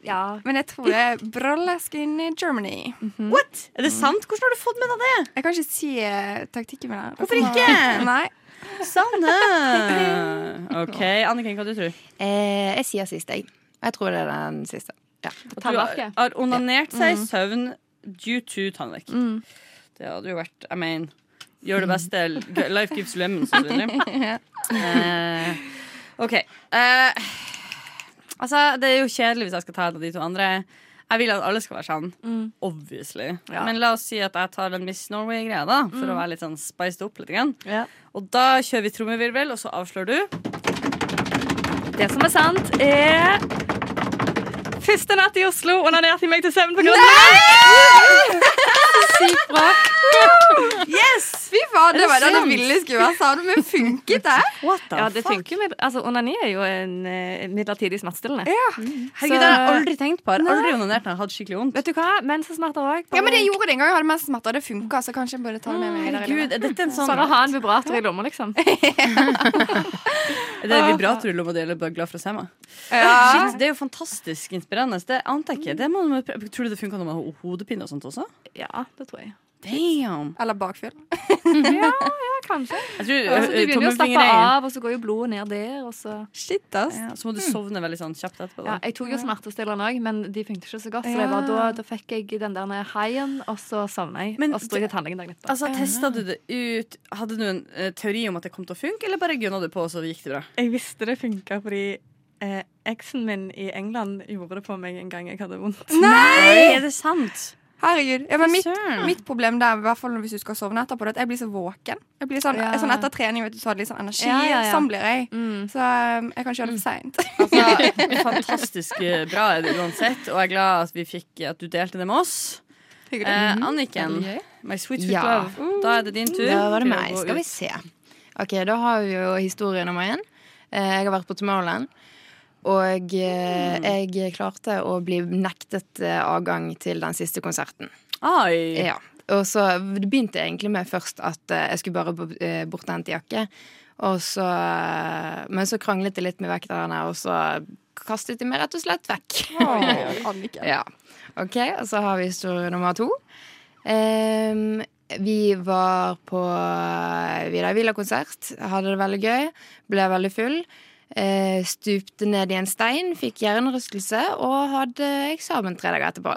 C: Ja.
D: Men jeg tror det er burlesk in Germany.
A: What? Er det sant? Hvordan har du fått med deg det?
D: Jeg kan ikke si eh, taktikken min her.
A: Hvorfor ikke?
D: Nei.
A: Sanne! OK, Anniken, hva du tror du?
B: Eh, jeg sier siste, jeg. Jeg tror det er den siste. Ja.
A: Du har-
C: Tannverket.
A: har onanert seg i søvn due to tannverk. Det hadde jo vært I mean, gjør det beste. g- Life gives lemons. og så videre. Eh, OK. Eh, altså, det er jo kjedelig hvis jeg skal ta en av de to andre. Jeg vil at alle skal være sånn. Obviously. Men la oss si at jeg tar den Miss Norway-greia, da. For å være litt sånn spiced opp litt. Grann. Og da kjører vi trommevirvel, og så avslører du.
C: Det som er sant, er Første natt i Oslo onanerte jeg meg til søvn på Grønland.
D: Fy faen, det var det
A: sant?
D: den ville skulle være sann, men funket det?
A: What the
C: Ja, det funker jo med, altså, Onani er jo en eh, midlertidig smertestillende.
A: Herregud,
C: Så-
A: det har jeg aldri tenkt på. Jeg har aldri onanert når jeg har hatt skikkelig vondt.
C: Vet du hva? Mensensmerter òg.
D: Ja, men jeg gjorde det en gang jeg hadde menssmerter, og det funka. Så kanskje jeg burde ta det med meg videre. i livet.
A: Herregud, er dette en sånn
C: Bare ha en vibrator i lomma, liksom.
A: Er det vibrator i lomma di eller bøgler fra Sema?
D: Ja.
A: Shit, det er jo fantastisk inspirerende. Det ante jeg ikke. Det må man prøve. Tror du det funka når man har hodepine og sånt også?
C: Ja, det tror jeg.
A: Damn!
D: Eller bakfyll.
C: Ja, kanskje.
A: Jeg tror eh,
C: Altså, du begynner jo å slappe
A: tommelfingerregelen-
C: av, og så går jo blodet ned der, og så
D: Shit, ass.
A: ja, Så må du sovne veldig sånn kjapt etterpå.
C: Ja,
A: Da.
C: jeg tok jo smertestillende òg, men de funket ikke så godt. Så det var, da, da fikk jeg den der haien, og så sovna jeg.
A: Men
C: og så dro jeg til tannlegen dagen etterpå.
A: Altså, Testa du det ut? Hadde du en eh, teori om at det kom til å funke, eller bare gønna du på, og så gikk det bra?
C: Jeg visste det funka fordi eh, eksen min i England gjorde det på meg en gang jeg hadde vondt.
A: Nei! Er det sant?
D: Herregud. Ja, men mitt,
A: Søren.
D: mitt problem der, i hvert fall hvis du skal sovne etterpå, det er at jeg blir så våken. Jeg blir sånn,
C: Ja.
D: sånn Etter trening vet du, så har jeg litt sånn energi.
C: Ja, ja, ja.
D: Sånn blir jeg.
C: Mm.
D: Så um, jeg kan ikke gjøre det for seint.
A: Altså, fantastisk eh, bra er det uansett, og jeg er glad at, vi fikk, at du delte det med oss. Eh, Anniken, my sweet sweet
B: Ja.
A: love, da er det din tur.
B: Da var
A: til
B: det
A: å
B: meg.
A: gå
B: Skal
A: ut.
B: vi se. Ok, da har vi jo historien nummer én. Eh, Jeg har vært på Tomorrowland. Og eh,
A: Mm.
B: jeg klarte å bli nektet eh, avgang til den siste konserten.
A: Ai.
B: Ja. Og så det begynte egentlig med først at eh, jeg skulle bare bo- eh, bort og hente jakke. Og så, men så kranglet jeg litt med vekterne, og så kastet de meg rett og slett vekk.
D: Anniken.
B: Ja. OK, og så har vi historie nummer to. Ehm, vi var på Vidar Villa-konsert. Hadde det veldig gøy. Ble veldig full. Eh, stupte ned i en stein, fikk hjernerystelse og hadde eksamen tre dager etterpå.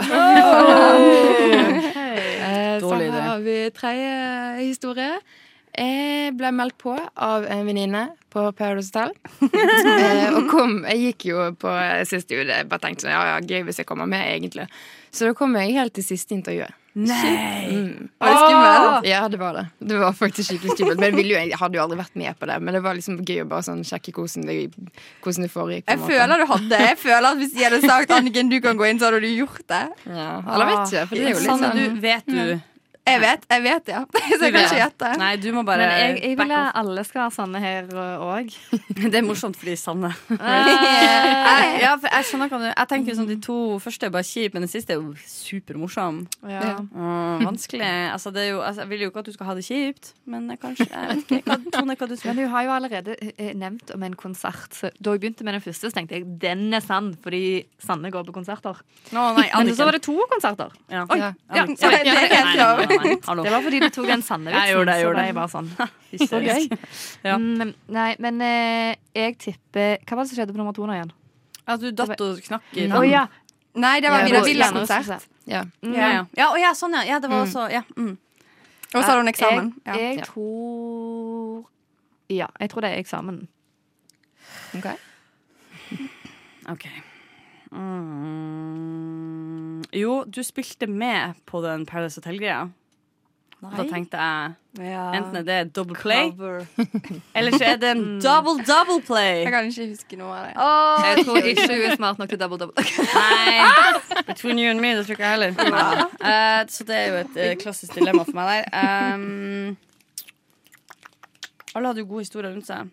B: Eh, så
A: Dårlig idé.
B: har vi tredje historie. Jeg ble meldt på av en venninne på Paradise Hotel. Eh, og kom, jeg gikk jo på siste uke, jeg bare tenkte sånn, ja, ja, gøy hvis jeg kommer med, egentlig. Så da kom jeg helt til siste intervjuet.
A: Nei!
B: Mm.
D: Var det skummelt?
B: Ja, det var det. Det var faktisk skikkelig skummelt. Men jeg, ville jo, jeg hadde jo aldri vært med på det, men det var liksom gøy å bare sånn sjekke hvordan det, hvordan det foregikk. på en
D: Jeg
B: måte.
D: føler du hadde Jeg føler at Hvis de hadde sagt Anniken, du kan gå inn, så hadde du gjort det.
B: Ja, eller vet ikke, for det er jo litt
A: Sanne,
B: sånn.
A: du, vet du
D: Jeg vet, jeg vet, ja. Så jeg kan ikke gjette.
A: Nei, du må bare
C: Men jeg, jeg
A: back
C: vil at alle skal være sanne her eh, òg.
A: off. Det er morsomt fordi Sanne
C: Ja.
A: jeg, ja, for jeg skjønner hva du Jeg tenker jo sånn de to første er bare kjipe, men den siste er jo supermorsom. Mm, vanskelig. Altså, det er jo, altså, jeg vil jo ikke at du skal ha det kjipt, men jeg kanskje jeg vet ikke, hva, Tone, hva du
C: Men
A: tror
C: hun har jo allerede eh, nevnt om en konsert. Så da jeg begynte med den første, så tenkte jeg den er sann, fordi Sanne går på konserter.
A: Nå, nei,
C: Men så var det to konserter.
A: ja.
C: Oi,
B: Ja.
C: ja,
A: Anniken.
C: sorry.
D: Det er helt
A: Nei, nei, nei, nei. Hallo.
C: Det var fordi du tok den sanne vitsen.
A: Jeg gjorde det, jeg
C: så
A: gjorde
C: ble
A: det.
C: jeg bare sånn. Så gøy.
A: Hysterisk. Ja.
C: Mm, nei, men eh, jeg tipper Hva var det som skjedde på nummer to nå igjen?
A: At du datt og knakk i
C: Å ja.
D: Nei, det var
B: Ja,
D: Vidar
B: Rose-
D: Villa-konsert.
B: Ja.
C: Mm.
A: Ja, ja. ja, å ja, sånn ja. ja det var også ja. Mm.
D: Og så hadde hun eksamen. Ja.
C: Jeg, jeg
B: Ja.
C: tror Ja, jeg tror det er eksamen.
B: Ok.
A: OK. Mm. Jo, du spilte med på den Paradise Hotel-greia. Da tenkte jeg
D: Ah.
A: enten er det double play, eller så er det en double double play.
D: Mm. Jeg kan ikke huske noe av det.
C: Jeg tror ikke hun er smart nok til double double.
A: Nei. Between you and me, det tror ikke jeg heller. Eh, så det er jo et eh, klassisk dilemma for meg der. Um, alle hadde jo gode historier rundt seg.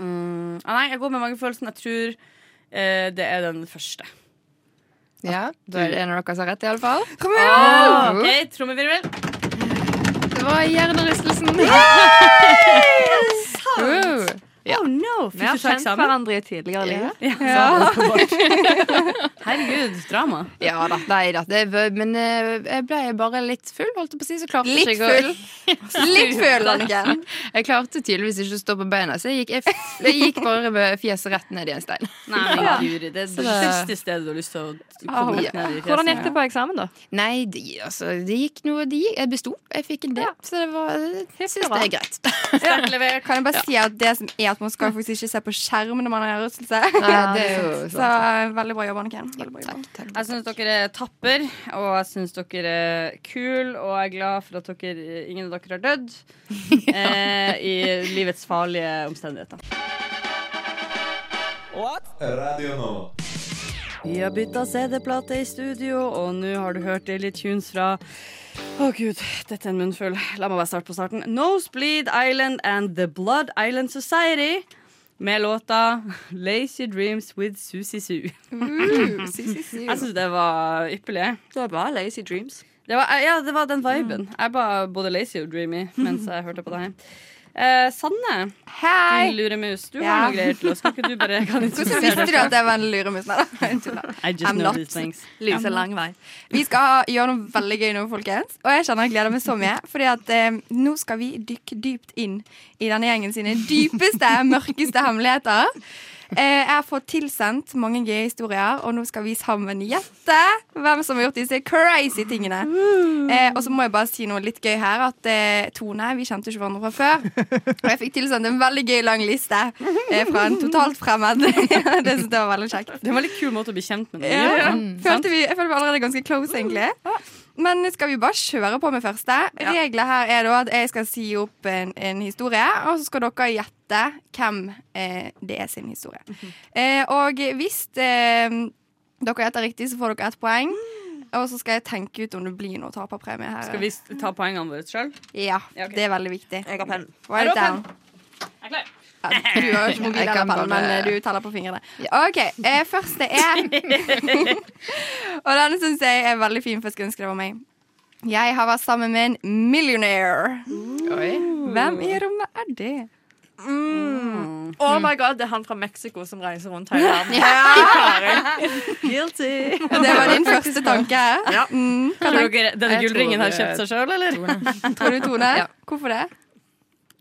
A: Mm, ah, nei, jeg går med magefølelsen. Jeg tror eh, det er den første.
B: ja. Da er det en av dere som har rett, iallfall. Kom
A: Ah, OK, trommevirvel.
B: Det var hjernerystelsen. Wow.
A: Oh no!
C: Vi
A: Fikk du ta
C: har kjent
A: eksamen?
C: hverandre i tidligere liv.
B: Ja.
A: Ja, så åpenbart. Herregud, drama.
B: Ja da. Nei da. Det, var- men eh, jeg ble bare litt full, holdt jeg på å si. Så klarte
D: Litt
B: ikke jeg å-
D: full. Litt full, Anniken.
B: Jeg klarte tydeligvis ikke å stå på beina, så jeg gikk, jeg, f- jeg gikk bare med fjeset rett ned i en stein.
A: Nei, men Guri, det er det siste stedet du har lyst til å komme
B: Ja.
A: ned i fjeset.
C: Hvordan gikk det på eksamen, da?
B: Nei, det altså, det gikk noe de, Jeg besto. Jeg fikk en D, så det var Jeg syns det
C: bra.
B: er greit.
A: Sterkt levert.
D: Kan jeg bare si at det som er at man skal faktisk ikke se på skjerm når man har hjernerystelse.
B: Nei, det er jo
D: Så
B: sant.
D: veldig bra jobba, Anniken. Veldig bra jobba.
B: Takk, takk.
A: Jeg syns dere er tapper, og jeg syns dere er kul, og jeg er glad for at dere, ingen av dere har dødd eh, i livets farlige omstendigheter.
E: What? Radio Nova.
A: Vi har bytta CD-plate i studio, og nå har du hørt Daily Tunes fra Å gud, dette er en munnfull. La meg bare starte på starten. Nosebleed Island and The Blood Island Society med låta Lazy Dreams with Susi Sue.
B: Mm.
A: Jeg syns det var ypperlig.
C: Det var Lazy Dreams.
A: Det var, ja, det var den viben.
D: Mm.
A: Jeg var både lazy og dreamy mens jeg hørte på det her. Eh, Sanne,
D: Hei!
A: din luremus, du har
D: Ja.
A: noe greier til oss. Kan ikke du bare kan
D: Hvordan
A: introdusere
D: visste
A: deg?
D: du at jeg var en luremus? Nei, da, jeg tuller.
A: I just
D: I'm
A: know
D: not.
A: these things.
C: Lyser lang vei.
D: Vi skal ha- gjøre noe veldig gøy nå, folkens. Og jeg kjenner jeg gleder meg så mye. Fordi at eh, nå skal vi dykke dypt inn i denne gjengen sine dypeste, mørkeste hemmeligheter. Eh, jeg har fått tilsendt mange gøye historier, og nå skal vi sammen gjette hvem som har gjort disse crazy tingene. Eh, og så må jeg bare si noe litt gøy her, at eh, Tone, vi kjente ikke hverandre fra før. Og jeg fikk tilsendt en veldig gøy lang liste eh, fra en totalt fremmed. det synes jeg var veldig kjekt.
A: Det var en litt kul måte å bli kjent med
D: Ja,
A: noen på.
D: følte vi, jeg følte vi allerede ganske
A: Mm.
D: close, egentlig. Men skal vi bare kjøre på med første? Regler her er da at jeg skal si opp en, en historie, og så skal dere gjette hvem eh, det er sin historie.
A: Mhm.
D: eh, og hvis eh, dere gjetter riktig, så får dere ett poeng. Og så skal jeg tenke ut om det blir noe taperpremie her.
A: Mm. Skal vi s- ta poengene våre sjøl?
D: Ja,
A: Ja, ok.
D: Det er veldig viktig.
A: Jeg har penn.
D: Write
A: Jeg har
D: it down. Ja, Du har jo ikke mobil
B: Jeg
D: eller
B: kan
D: penn, men
B: bare-
D: eh, du teller på fingrene. OK. Eh, første er Og denne syns jeg er veldig fin, for jeg skulle ønske det var meg. Jeg har vært sammen med en millionaire.
B: Oi.
D: Hvem i rommet er det?
A: Mm.
C: Oh my god, det er han fra Mexico som reiser rundt hele verden. Guilty.
D: Det var din første tanke. Mm. Hva
A: Tror dere denne
B: Jeg tror
A: gullringen har
B: det-
A: kjøpt seg sjøl, eller?
D: Tror du, Tone? Hvorfor det?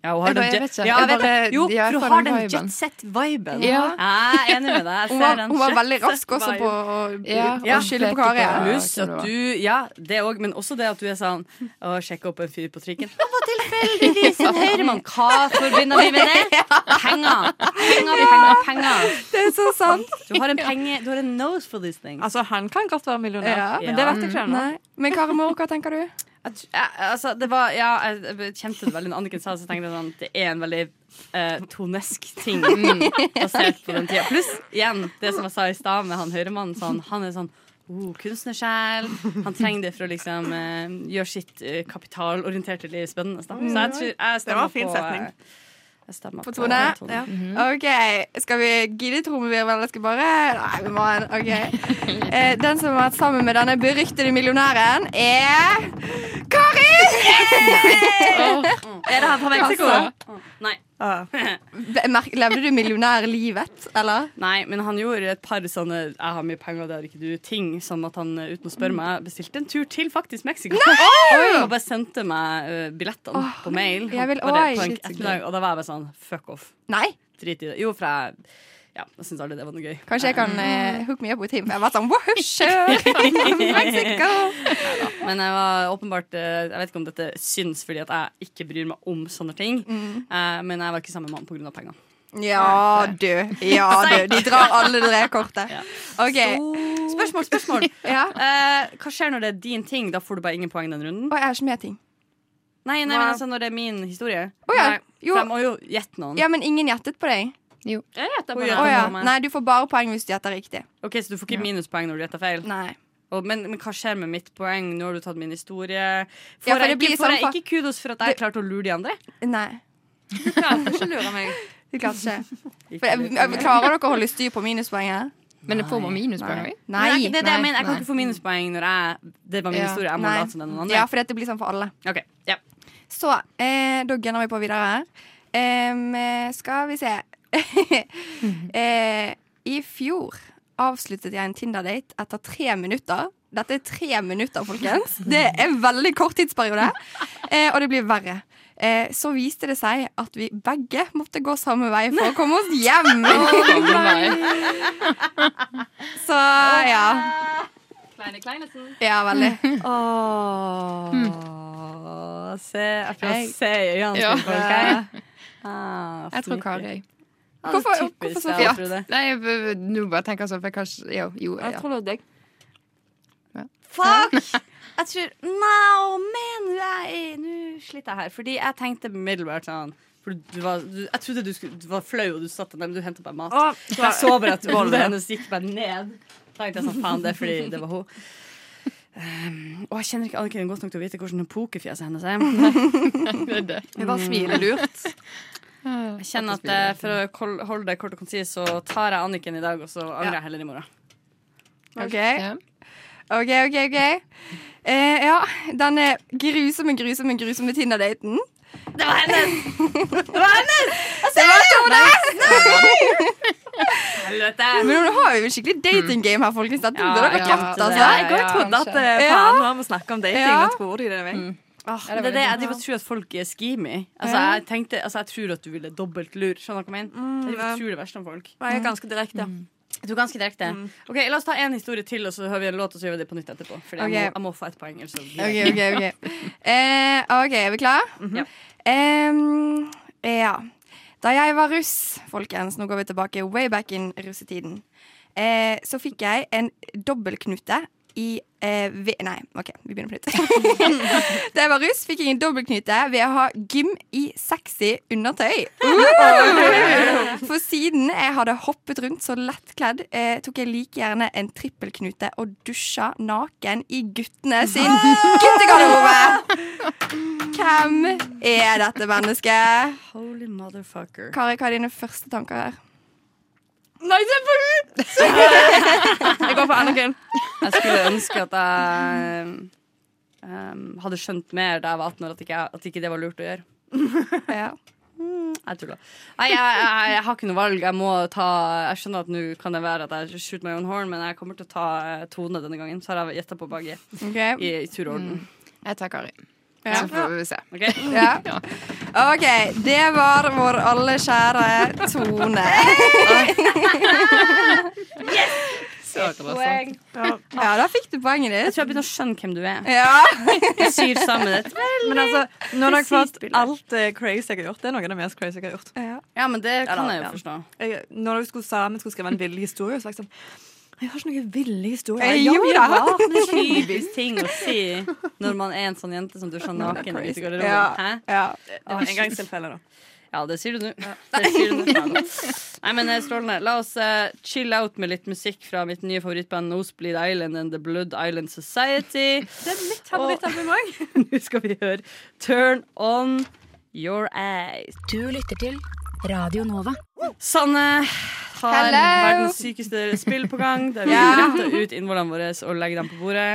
A: Ja, hun
B: Jeg bare-
A: den jet-
B: jeg vet
A: Ja,
B: ikke. Jeg
A: jeg vet
B: bare-
A: det. Jo,
B: ja,
A: for
B: for
A: du har
B: den
A: den
B: viben.
A: jetset-viben.
B: Ja.
A: Jeg er enig med deg. Jeg
D: Hun
A: ser
D: var,
A: den
D: hun var
A: jet-
D: veldig rask også på å
B: Ja,
D: å skylde på Kari.
B: Ja,
A: Pluss
B: jeg tror
A: at
B: det
A: du Ja, det òg, men også det at du er sånn Å sjekke opp en fyr på trikken. Han var tilfeldigvis en høyremann. Hva forbinder vi med det? Penger. Penger, penger, penger.
D: Det er så sant.
A: Du har en penge Du har en nose for these things.
C: Altså, han kan godt være millionær,
D: Ja.
C: men det vet jeg ikke ennå.
D: Nei. Men Kari Mor, hva tenker du?
A: Jeg tr- jeg- altså, det var Ja, jeg jeg kjente det veldig når Anniken sa det, så tenkte jeg sånn Det er en veldig eh, tonesk ting basert på den tida. Pluss igjen det som jeg sa i stad med han høyremannen. Sånn, han er sånn oh, kunstnersjel. Han trenger det for å liksom eh, gjøre sitt eh, kapitalorienterte liv spennende. da. Så jeg tror
H: Det
A: jeg
H: var en
A: stemmer
H: fin
A: på
H: setning.
A: eh, Jeg stemmer
D: På Tone? Mhm. Ja. OK. Skal vi gidde trommevirvel, eller skal vi bare Nei, vi må ha en. OK. Eh, den som har vært sammen med denne beryktede millionæren, er Kari!
C: Er det han fra Mexico?
A: Nei.
H: Ah.
D: Be- merk- Levde du millionærlivet, eller?
A: Nei, men han gjorde et par sånne 'jeg har mye penger, det har ikke du'-ting. Sånn at han eh, uten å spørre meg bestilte en tur til faktisk Mexico. Oi! Og bare sendte meg eh, billettene på mail.
D: jeg vil-
A: bare
D: oi,
A: på en
D: shit, så gøy.
A: ettermiddag, og da var jeg bare sånn fuck off.
D: Nei.
A: Drit i det. Jo, for jeg ja, jeg syns aldri det var noe gøy.
D: Kanskje jeg kan eh, hook me up with him. Jeg har vært sånn woohoo, sure! Mexico!
A: Eh, Men jeg var åpenbart eh, Jeg vet ikke om dette syns fordi at jeg ikke bryr meg om sånne ting.
D: Mm.
A: Eh, Men jeg var ikke sammen med han pga. pengene.
D: Ja, du. Ja, du. De drar alle det kortet. OK.
A: Spørsmål, spørsmål!
D: Ja.
A: Eh, hva skjer når det er din ting? Da får du bare ingen poeng den runden.
D: Og jeg har ikke med ting.
A: Nei, nei, men altså når det er min historie.
D: Å ja.
A: Nei, For
D: Jo.
A: jeg må jo gjette noen.
D: Ja, men ingen gjettet på deg.
C: Jeg gjetter
A: Å,
C: på det.
A: ja.
D: Å ja.
A: på meg.
D: Nei, du får bare poeng hvis du gjetter riktig.
A: Ok, Så du får ikke minuspoeng når du gjetter feil?
D: Nei.
A: Og, men, men hva skjer med mitt poeng? Nå har du tatt min historie. Får,
D: Ja, for det
A: jeg,
D: blir
A: ikke, får
D: sånn
A: jeg ikke kudos for at jeg klarte å lure de andre?
D: Nei.
C: Klarte ikke å lure meg.
D: Det klarte ikke.
A: Ikke
D: For, jeg-
A: lurt.
D: jeg- klarer dere å holde styr på minuspoeng her?
B: Men det får man minuspoeng òg.
A: Men det er ikke- det er det jeg
D: nei,
A: mener. Jeg kan
D: nei.
A: ikke få minuspoeng når jeg, det var min
B: Ja.
A: historie. Jeg må
D: Nei.
A: late som det er noen andre.
D: Ja, for dette blir sånn for alle.
A: Ok, ja.
D: Så eh, da gønner vi på videre her. Em, eh, skal vi se eh, I fjor avsluttet jeg en Tinder-date etter tre minutter. Dette er tre minutter, folkens. Det er en veldig kort tidsperiode. Eh, og det blir verre. Eh, så viste det seg at vi begge måtte gå samme vei for å komme oss hjem. Så Ah. ja.
C: Kleine Kleinesen.
D: Ja, veldig.
A: Se, jeg prøver å
B: Jeg-
A: se i øynene
B: Ja.
A: til folk her. Ah,
B: Jeg tror
A: sneaky.
B: Kari. jeg.
A: Ja, det er
D: Hvorfor-
A: typisk
D: hvorfor så
A: deg,
B: fjert?
A: Trude.
B: Nei, jeg b- b- nå bare tenker jeg sånn, for jeg kanskje Jo, jo
C: Jeg
B: ja.
C: tror det var deg.
A: Fuck! Jeg tror No, men jeg er- Nå sliter jeg her. Fordi jeg tenkte umiddelbart sånn for du var, du, Jeg trodde du, skulle, du var flau, og du satt der, men du hentet bare mat. jeg så bare at hodet hennes gikk bare ned. Tenkte jeg sånn, faen, det er fordi det var hun. Um, og jeg kjenner ikke Anniken godt nok til å vite hvordan pokerfjeset hennes eh. er.
B: Det er det.
C: Vi bare smiler lurt.
A: Jeg kjenner at eh, For å kol- holde det kort og konsist, så tar jeg Anniken i dag, og så angrer jeg heller i morgen.
C: Mm.
D: OK.
B: Ja.
D: Ok, ok, ok. Eh, ja, denne grusomme, grusomme, grusomme Tinder-daten.
A: Det var hennes!
D: Det var Tone!
A: Helvete!
D: Men hun har jo et skikkelig dating game her, folkens. Dette burde dere
B: ja,
D: kjeft,
A: det er-
D: altså.
C: Jeg går og trodde at eh,
D: Ja.
C: faen, nå må vi snakke om dating.
D: Ja.
C: Nå tror de det er meg.
A: Ah, det er det jeg driver og tror at folk er schemy. Altså, jeg, tenkte, altså, jeg tror at du ville dobbeltlur. Skjønner du hva jeg mener? jeg driver og tror det verste om folk.
C: Jeg er ganske direkte.
A: Du er ganske direkte. Ok, La oss ta en historie til, og så hører vi en låt, og så gjør vi det på nytt etterpå. Fordi
D: Ok.
A: jeg, må, jeg må få ett poeng. ellers så blir
D: Ok,
A: jeg-
D: ok, ok. Eh, ok, er vi klare?
A: Ja.
D: Em, ja. Da jeg var russ, folkens, nå går vi tilbake way back in russetiden, eh, så fikk jeg en dobbeltknute i eh, ve- Nei, OK, vi begynner på nytt. da jeg var russ, fikk jeg en dobbeltknute ved å ha gym i sexy undertøy. For siden jeg hadde hoppet rundt så lettkledd, eh, tok jeg like gjerne en trippelknute og dusja naken i guttene sin guttegarderobe! Hvem er dette mennesket?
A: Holy motherfucker.
D: Kari, hva er dine første tanker her?
C: Nei, selvfølgelig! Jeg går for Anniken.
A: Jeg skulle ønske at jeg ehm, hadde skjønt mer da jeg var 18 år, at ikke, jeg- at ikke det var lurt å gjøre.
D: Ja.
A: Jeg tuller. Nei, jeg, jeg, jeg har ikke noe valg. Jeg må ta Jeg skjønner at nå kan det være at jeg shoot my own horn, men jeg kommer til å ta eh, Tone denne gangen. Så har jeg gjetta på begge
D: Ok.
A: i, i tur og orden.
B: Jeg tar Kari.
D: Ja.
B: Så får vi se.
A: Ok?
D: Ja. OK, det var vår alle kjære Tone.
B: Så sånn. interessant.
D: Ja, da fikk du poenget
A: Jeg
D: ditt.
A: tror jeg begynner å skjønne hvem du er.
D: Ja.
A: Jeg syr sammen et
H: Men altså, nå har jeg
A: Presist
H: fått
A: bilde.
H: alt eh, crazy jeg har gjort. Det er noe av det mest crazy jeg har gjort.
A: Ja, men det kan
H: da,
A: jeg jo
H: ja.
A: forstå.
H: Jeg, eh, når dere skulle sammen skulle skrive en villig historie, så var jeg sånn Jeg har ikke noen villig historie.
D: Eh,
H: Ja,
D: jo
H: vi
D: da.
H: har det.
A: Det er typisk ting å si når man er en sånn jente som dusjer naken ute i garderoben.
D: Ja.
A: Hæ?
H: Det var engangstilfelle, da.
A: Ja, Ja, det sier du nå. Det sier du nå. Ja, da. Nei, men det er strålende. La oss eh, chill out med litt musikk fra mitt nye favorittband No Split Island and The Blood Island Society.
C: Det er mitt favorittalbum òg.
A: Nå skal vi høre Turn On Your Eyes.
F: Du lytter til Radio Nova.
A: Sanne har
D: Hello.
A: verdens sykeste spill på gang. Der vi
D: Ja.
A: retter ut innvollene våre og legger dem på bordet.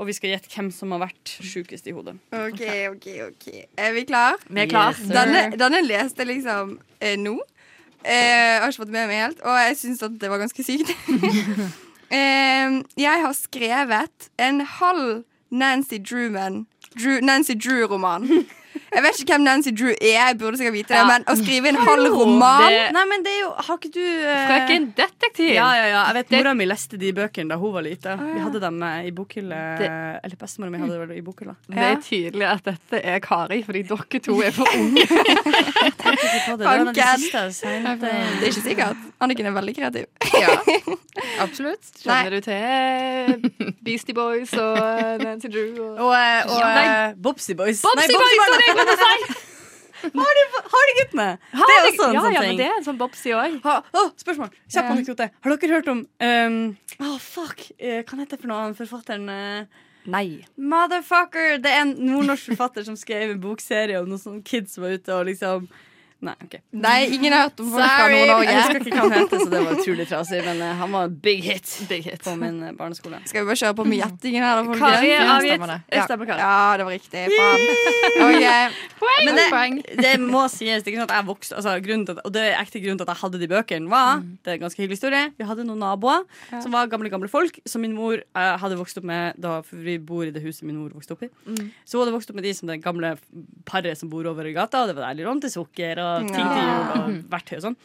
A: Og vi skal gjette hvem som har vært sjukest i hodet.
D: OK, OK. ok Er vi klar?
C: Vi er klar.
A: Yes, sir.
D: Denne, denne leste jeg liksom eh, nå. Eh, jeg har ikke fått med meg helt, og jeg syns at det var ganske sykt. eh, jeg har skrevet en halv Nancy Drewman Drew, Nancy Drew-roman. Jeg vet ikke hvem Nancy Drew er, jeg burde sikkert vite det,
A: Ja.
D: men å skrive en halv roman
A: Det, nei, men det er jo Har ikke du eh,
C: Frøken Detektiv.
A: Ja, ja, ja. Jeg vet Mora mi leste de bøkene da hun var lita.
H: Ah.
A: Vi hadde dem eh, i bokhylle. Eller bestemora mi hadde det vel i bokhylla.
H: Det er tydelig at dette er Kari, fordi dere to er for unge.
A: Det
D: var en av de Fanken.
A: siste.
D: Det er ikke sikkert. Anniken er veldig kreativ.
B: Ja, absolutt.
H: Kjenner du til Beastie Boys og Nancy Drew? Og
A: Og, eh, og eh, Bobsy Boys. Nei, Bobsy Boys. Har de guttene? Det er også en
H: ja,
A: sånn
H: ja,
A: ting.
H: men det er en sånn Bobsy òg.
A: Ha, å, spørsmål. Kjapp anekdote. Har dere hørt om um, Å, fuck! Eh, Hva heter det for noe annet forfatteren eh?
C: Nei.
A: Motherfucker! Det er en nordnorsk forfatter som skrev en bokserie om noen sånne kids som var ute og liksom Nei, OK.
D: Nei,
A: Eh,
D: ingen har hørt om folk fra
A: Jeg
D: Nord-Norge.
A: husker ikke hva han het, så det var utrolig trasig, men eh, han var en big hit, på min eh, barneskole.
D: Skal vi bare kjøre på med gjettingen her, da,
C: Kari
D: folkens?
C: er
B: Ja,
C: avgitt.
B: stemmer det.
C: Jeg stemmer Kari.
D: Ja, det var riktig. Faen. Ok.
A: Men det,
B: poeng.
A: det må sies. Det er ikke sånn at jeg vokste, altså, grunnen til at, og det er ekte grunnen til at jeg hadde de bøkene, var Det er en ganske hyggelig historie. Vi hadde noen naboer som var gamle gamle folk, som min mor eh, hadde vokst opp med da for vi bor i det huset min mor vokste opp i. Så hun hadde vokst opp med de som det gamle paret som bor over i gata, og det var deilig rom til sukker og ting til jul og verktøy og sånn.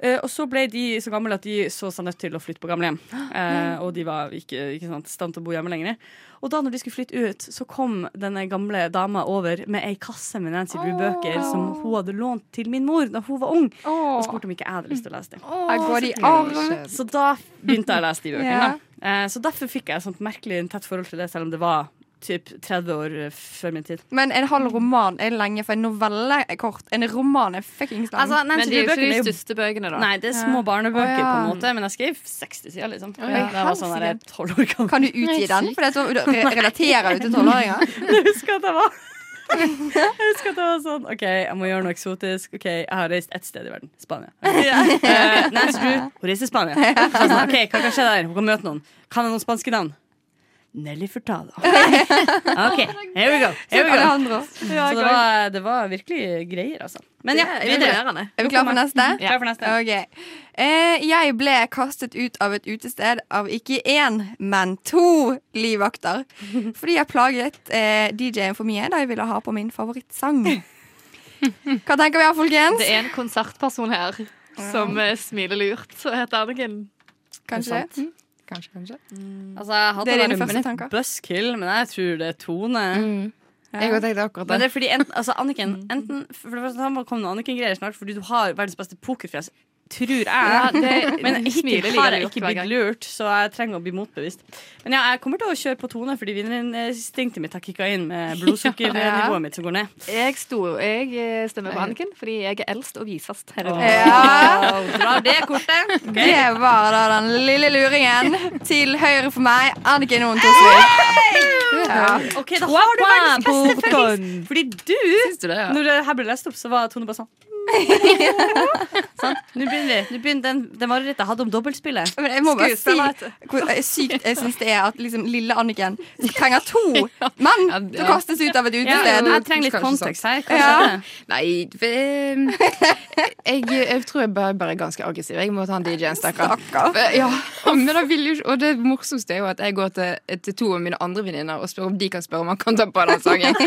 A: Eh, og så ble de så gamle at de så seg nødt til å flytte på gamlehjem. Eh, og de var ikke ikke sant, i stand til å bo hjemme lenger. Og da når de skulle flytte ut, så kom denne gamle dama over med ei kasse med Nancy Drew-bøker som hun hadde lånt til min mor da hun var ung, og spurte om ikke jeg hadde lyst til å lese det.
D: Her går de i arv.
A: Så da begynte jeg å lese de bøkene.
D: Ja.
A: da. Eh, så derfor fikk jeg et sånt merkelig tett forhold til det, selv om det var typ 30 år eh, før min tid.
D: Men en halv roman er lenge, for en novelle er kort. En roman er fuckings lang.
A: Nancy
H: Men de er jo ikke
A: Drew-bøkene er
H: de
A: jo-
H: største bøkene, da.
A: Nei, det er små barnebøker,
D: Å, ja.
A: på en måte, men jeg skrev 60 sider, liksom.
D: ja.
A: Da jeg var sånn der 12 år gammel.
D: kan du utgi den? For det er så, da re- relaterer du til tolvåringer?
A: Jeg husker at jeg var Jeg husker at jeg var sånn OK, jeg må gjøre noe eksotisk. OK, jeg har reist ett sted i verden. Spania. Eh, Nancy Drew, hun reiser til Spania. Så jeg sånn, OK, hva kan skje der? Hun kan møte noen. Kan jeg noen spanske navn? Nelly Furtado. OK, here we go. Here we go.
D: Alejandro.
A: Så det var, det var virkelig greier, altså. Men ja, videre.
D: Er vi klar for neste?
A: Klar for neste.
D: Ok. Eh, jeg ble kastet ut av et utested av ikke én, men to livvakter. Fordi jeg plaget eh, DJ-en for mye da jeg ville ha på min favorittsang. Hva tenker vi her, folkens?
H: Det er en konsertperson her som eh, smiler lurt, og heter Anniken.
D: Kanskje det?
B: Kanskje, kanskje.
A: Altså, jeg hadde
D: Det er dine
A: vært
D: første
A: en
D: tanker.
A: buskill, men jeg tror det er Tone.
B: Mm. Jeg har tenkt akkurat
A: Men det
B: det.
A: er fordi enten, altså Anniken, enten For det første, han må komme noen Anniken-greier snart, fordi du har verdens beste pokerfjes. Tror jeg. Men hittil har jeg ikke blitt lurt, så jeg trenger å bli motbevist. Men ja, jeg kommer til å kjøre på Tone, fordi vinnerinstinktet mitt har kicka inn med blodsukkernivået mitt som går ned.
H: Jeg, sto, jeg eh, stemmer på Anniken fordi jeg er eldst og visest. her i verden.
D: Ja.
A: Dra det kortet.
D: Det var da den lille luringen til høyre for meg, Anniken Ontosvik. Ja.
A: Ok, da har du verdens beste fuckings Fordi du,
B: Syns du det, ja?
A: når det her ble lest opp, så var Tone bare sånn. Sant? Nå begynner vi. Nå begynner den, den marerittet jeg hadde om dobbeltspillet.
D: Men jeg må bare si
H: Skuespiller,
D: hvor sykt jeg syns det er at liksom, lille Anniken trenger to menn til å kastes ut av et
A: Ja,
D: utested.
A: jeg trenger litt
B: Kanskje sant.
A: kontekst her. Hva
D: Ja.
A: skjedde?
B: Nei, vi- jeg, jeg tror jeg bare, bare er ganske aggressiv. Jeg må ta en DJ-en, stakkar. Ja, men da vil jo, ikke- og det morsomste er jo at jeg går til, til to av mine andre venninner og spør om de kan spørre om han kan ta på den sangen.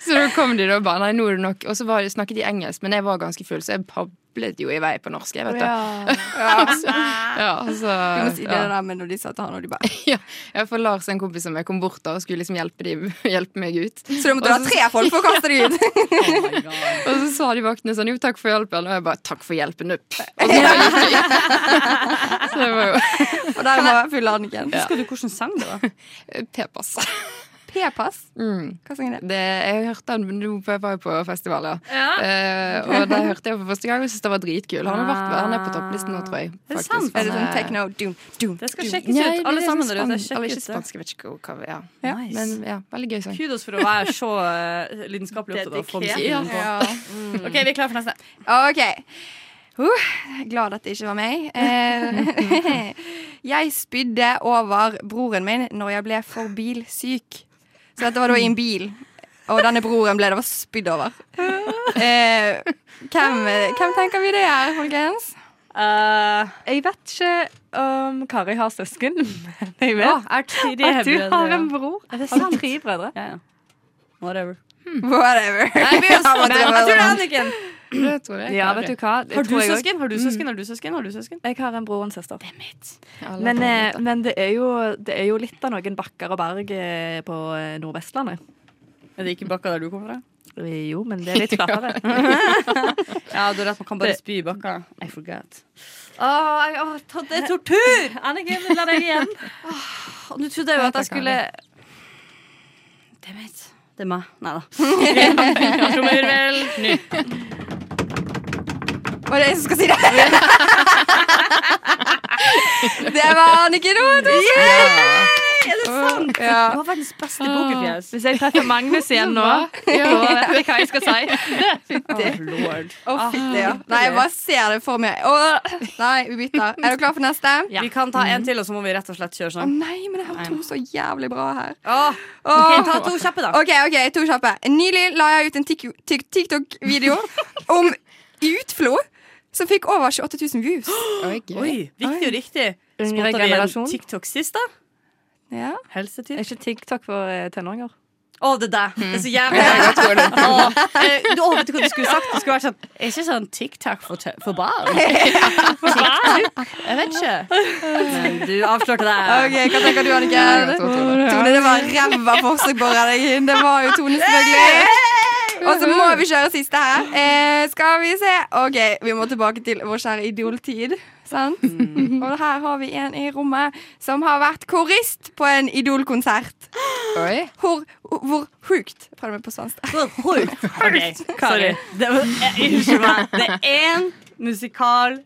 B: så da kom de da og bare Nei, nå er det nok. Og så var, snakket de engelsk, men jeg var ganske full, så jeg bablet jo i vei på norsk. Jeg vet det. Ja,
D: Du må si
B: så,
D: det
B: ja.
D: der med når de sa til han, og de bare
B: Ja, ja, for Lars, en kompis som jeg kom bort da og skulle liksom hjelpe, de, hjelpe meg ut.
D: Så du måtte ha tre folk for å kaste dem ut.
B: Og så sa de vaktene sånn, jo takk for hjelpen Og jeg bare, takk for hjelpen opp Og så bare gikk jeg Så det var jo
D: Og der var fulle Anniken.
A: Husker du hvilken sang det var?
B: P-pass
D: P-pass?
B: Mm.
D: Hva sang er det?
B: Det, jeg hørte han nå på- jeg var jo på festival, ja.
A: Ja.
B: Eh, og der hørte jeg for første gang og syntes det var dritkul. Han, har vært, han er på topplisten nå, tror jeg.
A: Er Ah. det
B: faktisk.
A: sant?
D: Er det
B: Han
D: sånn techno doom, doom,
A: Det skal
D: doom?
A: sjekkes
B: Nei,
A: ut.
B: det
A: Alle
B: er
A: sammen der
B: sånn
A: ute.
B: span- eller
A: Sjekk
B: ikke
A: ut det.
B: spansk, jeg vet ikke hva, hva ja.
D: Ja,
A: Nice.
B: Men ja, veldig gøy sang.
A: Kudos for å være så eh, lidenskapelig opptatt av å få
C: Dedikert.
A: musikken på. Mm.
D: Ja.
A: OK, vi er klare for neste.
D: OK. Uh, glad dette ikke var meg. Eh, jeg spydde over broren min når jeg ble for bilsyk. Så dette var da i en bil, og denne broren ble det var spydd over. Eh, hvem, hvem tenker vi det er, folkens?
A: Eh,
C: Jeg vet ikke om Kari har søsken, men jeg vet
A: Er tre
C: at du
A: brødre,
C: har
A: ja.
C: en bror.
A: Er det
C: Har
A: sant?
C: du tre brødre?
A: Ja, ja. Whatever.
D: Whatever.
A: Nei, vi er
D: Ja, men
A: sammen.
D: det var-
A: Jeg tror det er Anniken.
B: Det tror jeg.
C: Ja, vet du hva? Det
A: Har du
C: tror jeg også.
A: søsken? Har du søsken? Har du søsken? Har du søsken?
C: Jeg har en bror og en søster.
B: Alle
C: Men,
B: på
C: eh,
B: dette.
C: men det, er jo, det er jo litt av noen bakker og berg eh, på eh, Nordvestlandet.
A: Er det ikke bakka der du kommer fra?
C: Eh, Jo, men det er litt flatere.
A: Ja, du har rett, man kan
C: bare
A: spy i bakka. I forgot.
C: det er tortur! Anniken, la deg igjen.
A: Nå trodde jeg jo at jeg skulle Damn it. Det er meg. Nei da. Trommevirvel. Ny.
D: Var det jeg som skal si det? det var Anniken Othos.
A: Det var verdens beste pokerfjes.
C: Hvis jeg treffer Magnus igjen nå, så vet jeg hva jeg skal si.
A: Oh, lord.
D: Å, fytti, ja. Nei, jeg bare ser det for meg. Åh. Nei, vi bytter. Er dere klare for neste? Å
A: Vi kan ta en til, og så må vi rett og slett kjøre sånn.
D: nei, men jeg har to så jævlig bra her.
A: Åh,
D: Åh.
A: ok, ta to kjappe, da.
D: OK, ok, to kjappe. Nylig la jeg ut en tik- tik- TikTok-video om utflo som fikk over 28 000 views.
B: Oi, gøy.
A: eh, Oi, viktig og riktig.
C: Yngre
A: Spotta vi en
C: generasjon.
A: TikTok sist, da?
D: Ja.
A: Helsetyp.
C: Er ikke TikTok for eh, tenåringer?
A: Å, det der. Det er så jævlig Åh, eh, du, åh, vet du hva du skulle sagt? Du skulle vært sånn Er ikke sånn TikTok for, tø- for barn? TikTok? Jeg vet ikke. Men du avslørte
D: Ok,
A: deg.
D: Hva tenker du,
B: Jeg
D: Anniken?
B: vet hva tror du.
D: Tone, det var ræva forsøk på å redde deg inn. Det var jo Tone, selvfølgelig. Og så må vi kjøre siste her. Eh, skal vi se. OK, vi må tilbake til vår kjære idoltid. Sant? Og her har vi en i rommet som har vært korist på en idolkonsert.
B: Oi.
D: Hvor, hvor sjukt Prøv meg på svensk.
A: Okay, sorry. Det var, eh, Unnskyld meg. Det er én musikal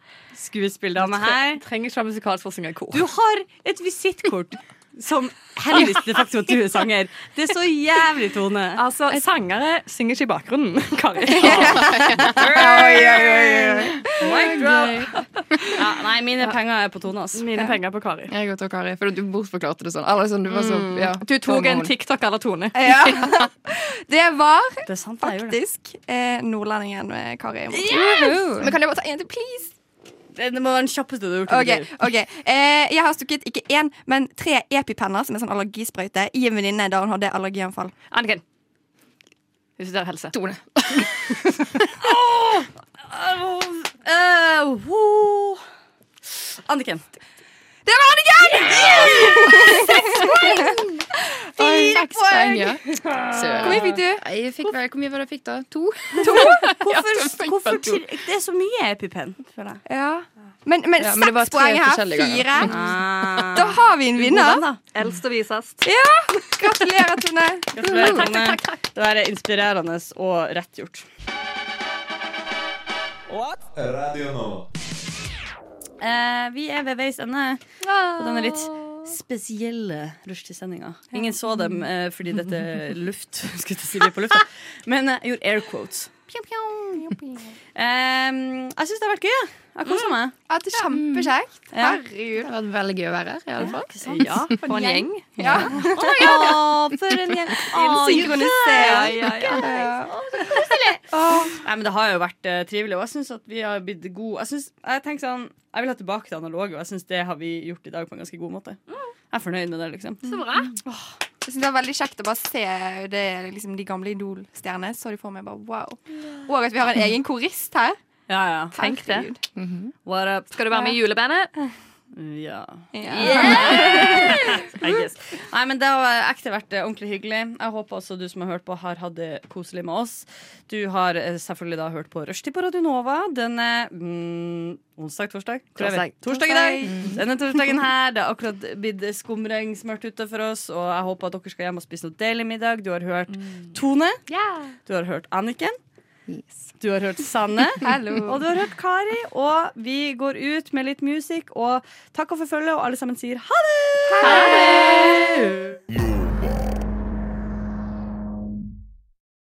A: skuespillerdame her.
C: Trenger ikke ha musikalsk for å synge i kor.
A: Du har et visittkort som heldigvis det faktisk at du er sanger. Det er så jævlig, Tone.
C: Altså, sangere synger ikke i bakgrunnen, Kari.
A: Mic drop. Ja, nei, mine penger er på Tone, altså. ass.
C: Mine penger på Kari.
B: Jeg og Kari. For du bortforklarte det sånn. Eller sånn, du var så
A: Mm.
B: ja.
C: Du tok en
B: hormon.
C: TikTok eller Tone.
D: Ja. Det var
A: Det er sant, jeg gjør det.
D: faktisk eh, nordlendingen eh, Kari.
B: Uhu.
D: Men kan jeg bare ta en til, please?
A: Det det må være den kjappeste du har gjort.
D: Ok,
A: i ditt liv.
D: ok eh, Jeg har stukket ikke én, men tre epipenner Som er sånn allergisprøyte I en venninne da hun hadde allergianfall
C: Anniken. Hvis du er helse.
B: Tone.
A: Eh, ho. Anniken.
D: Det var Anniken!
B: Seks poeng, ja.
D: Hvor mye fikk du?
B: Nei, jeg fikk, vel- hvor mye var det jeg fikk, da? To?
A: Hvorfor, hvorfor
B: to.
A: til- Det er så mye EpiPen. føler jeg.
D: Ja Men, men
B: Ja, men det var
D: seks
B: tre
D: poeng her,
B: forskjellige ganger.
D: fire
A: Ah.
D: Da har vi en
A: Hvordan
D: vinner
A: da?
C: Eldst og visest.
D: Gratulerer, Tone
A: Gratulerer, Tone. sånn, eh, Det er inspirerende og rett gjort.
E: Radio Nova.
A: Eh, vi er ved veis ende på denne litt spesielle rushtidssendinga. Ingen så dem eh, fordi dette er luft. Skulle til å si vi er på lufta. Men eh, jeg gjorde air quotes. Pjau, pjau. Eh, jeg syns det har vært gøy. jeg. Jeg har kosa meg.
D: Ja, det er kjempekjekt
A: Ja.
D: Mm. Herregud
B: Det har vært veldig gøy å være her, i alle fall.
A: Ja.
C: På en gjeng.
D: Ja,
A: Å, for Oh en gjeng. Å,
D: synkronisert
C: ja, ja.
A: Nei, men Det har jo vært eh, trivelig, og jeg syns at vi har blitt gode. Jeg, synes, jeg tenker sånn, jeg vil ha tilbake det analoge, og jeg syns det har vi gjort i dag på en ganske god måte. Jeg er fornøyd med det, liksom.
D: Jeg synes det var veldig kjekt å bare se det, liksom, De gamle idolstjerne Så de får meg bare, wow Og at vi har en egen korist her
A: Ja, ja.
C: Tenk det.
D: Herregud.
A: What up?
C: Skal du være med i julebandet?
A: Ja. I guess. Nei, men Det har ekte vært eh, ordentlig hyggelig. Jeg håper også du som har hørt på, har hatt det koselig med oss. Du har eh, selvfølgelig da hørt på Rushtid på Radio Nova denne mm, onsdag, torsdag? Hvor er vi?
C: Torsdag.
A: Torsdag i dag. Denne torsdagen her. Det har akkurat blitt skumring smørt ute for oss, og jeg håper at dere skal hjem og spise noe deilig middag. Du har hørt Tone. Du har hørt Anniken. Du har hørt Sanne. Og du har hørt Kari. Og vi går ut med litt musikk. Og takk og for følget, og alle sammen sier ha det! Ha det!
E: Nova.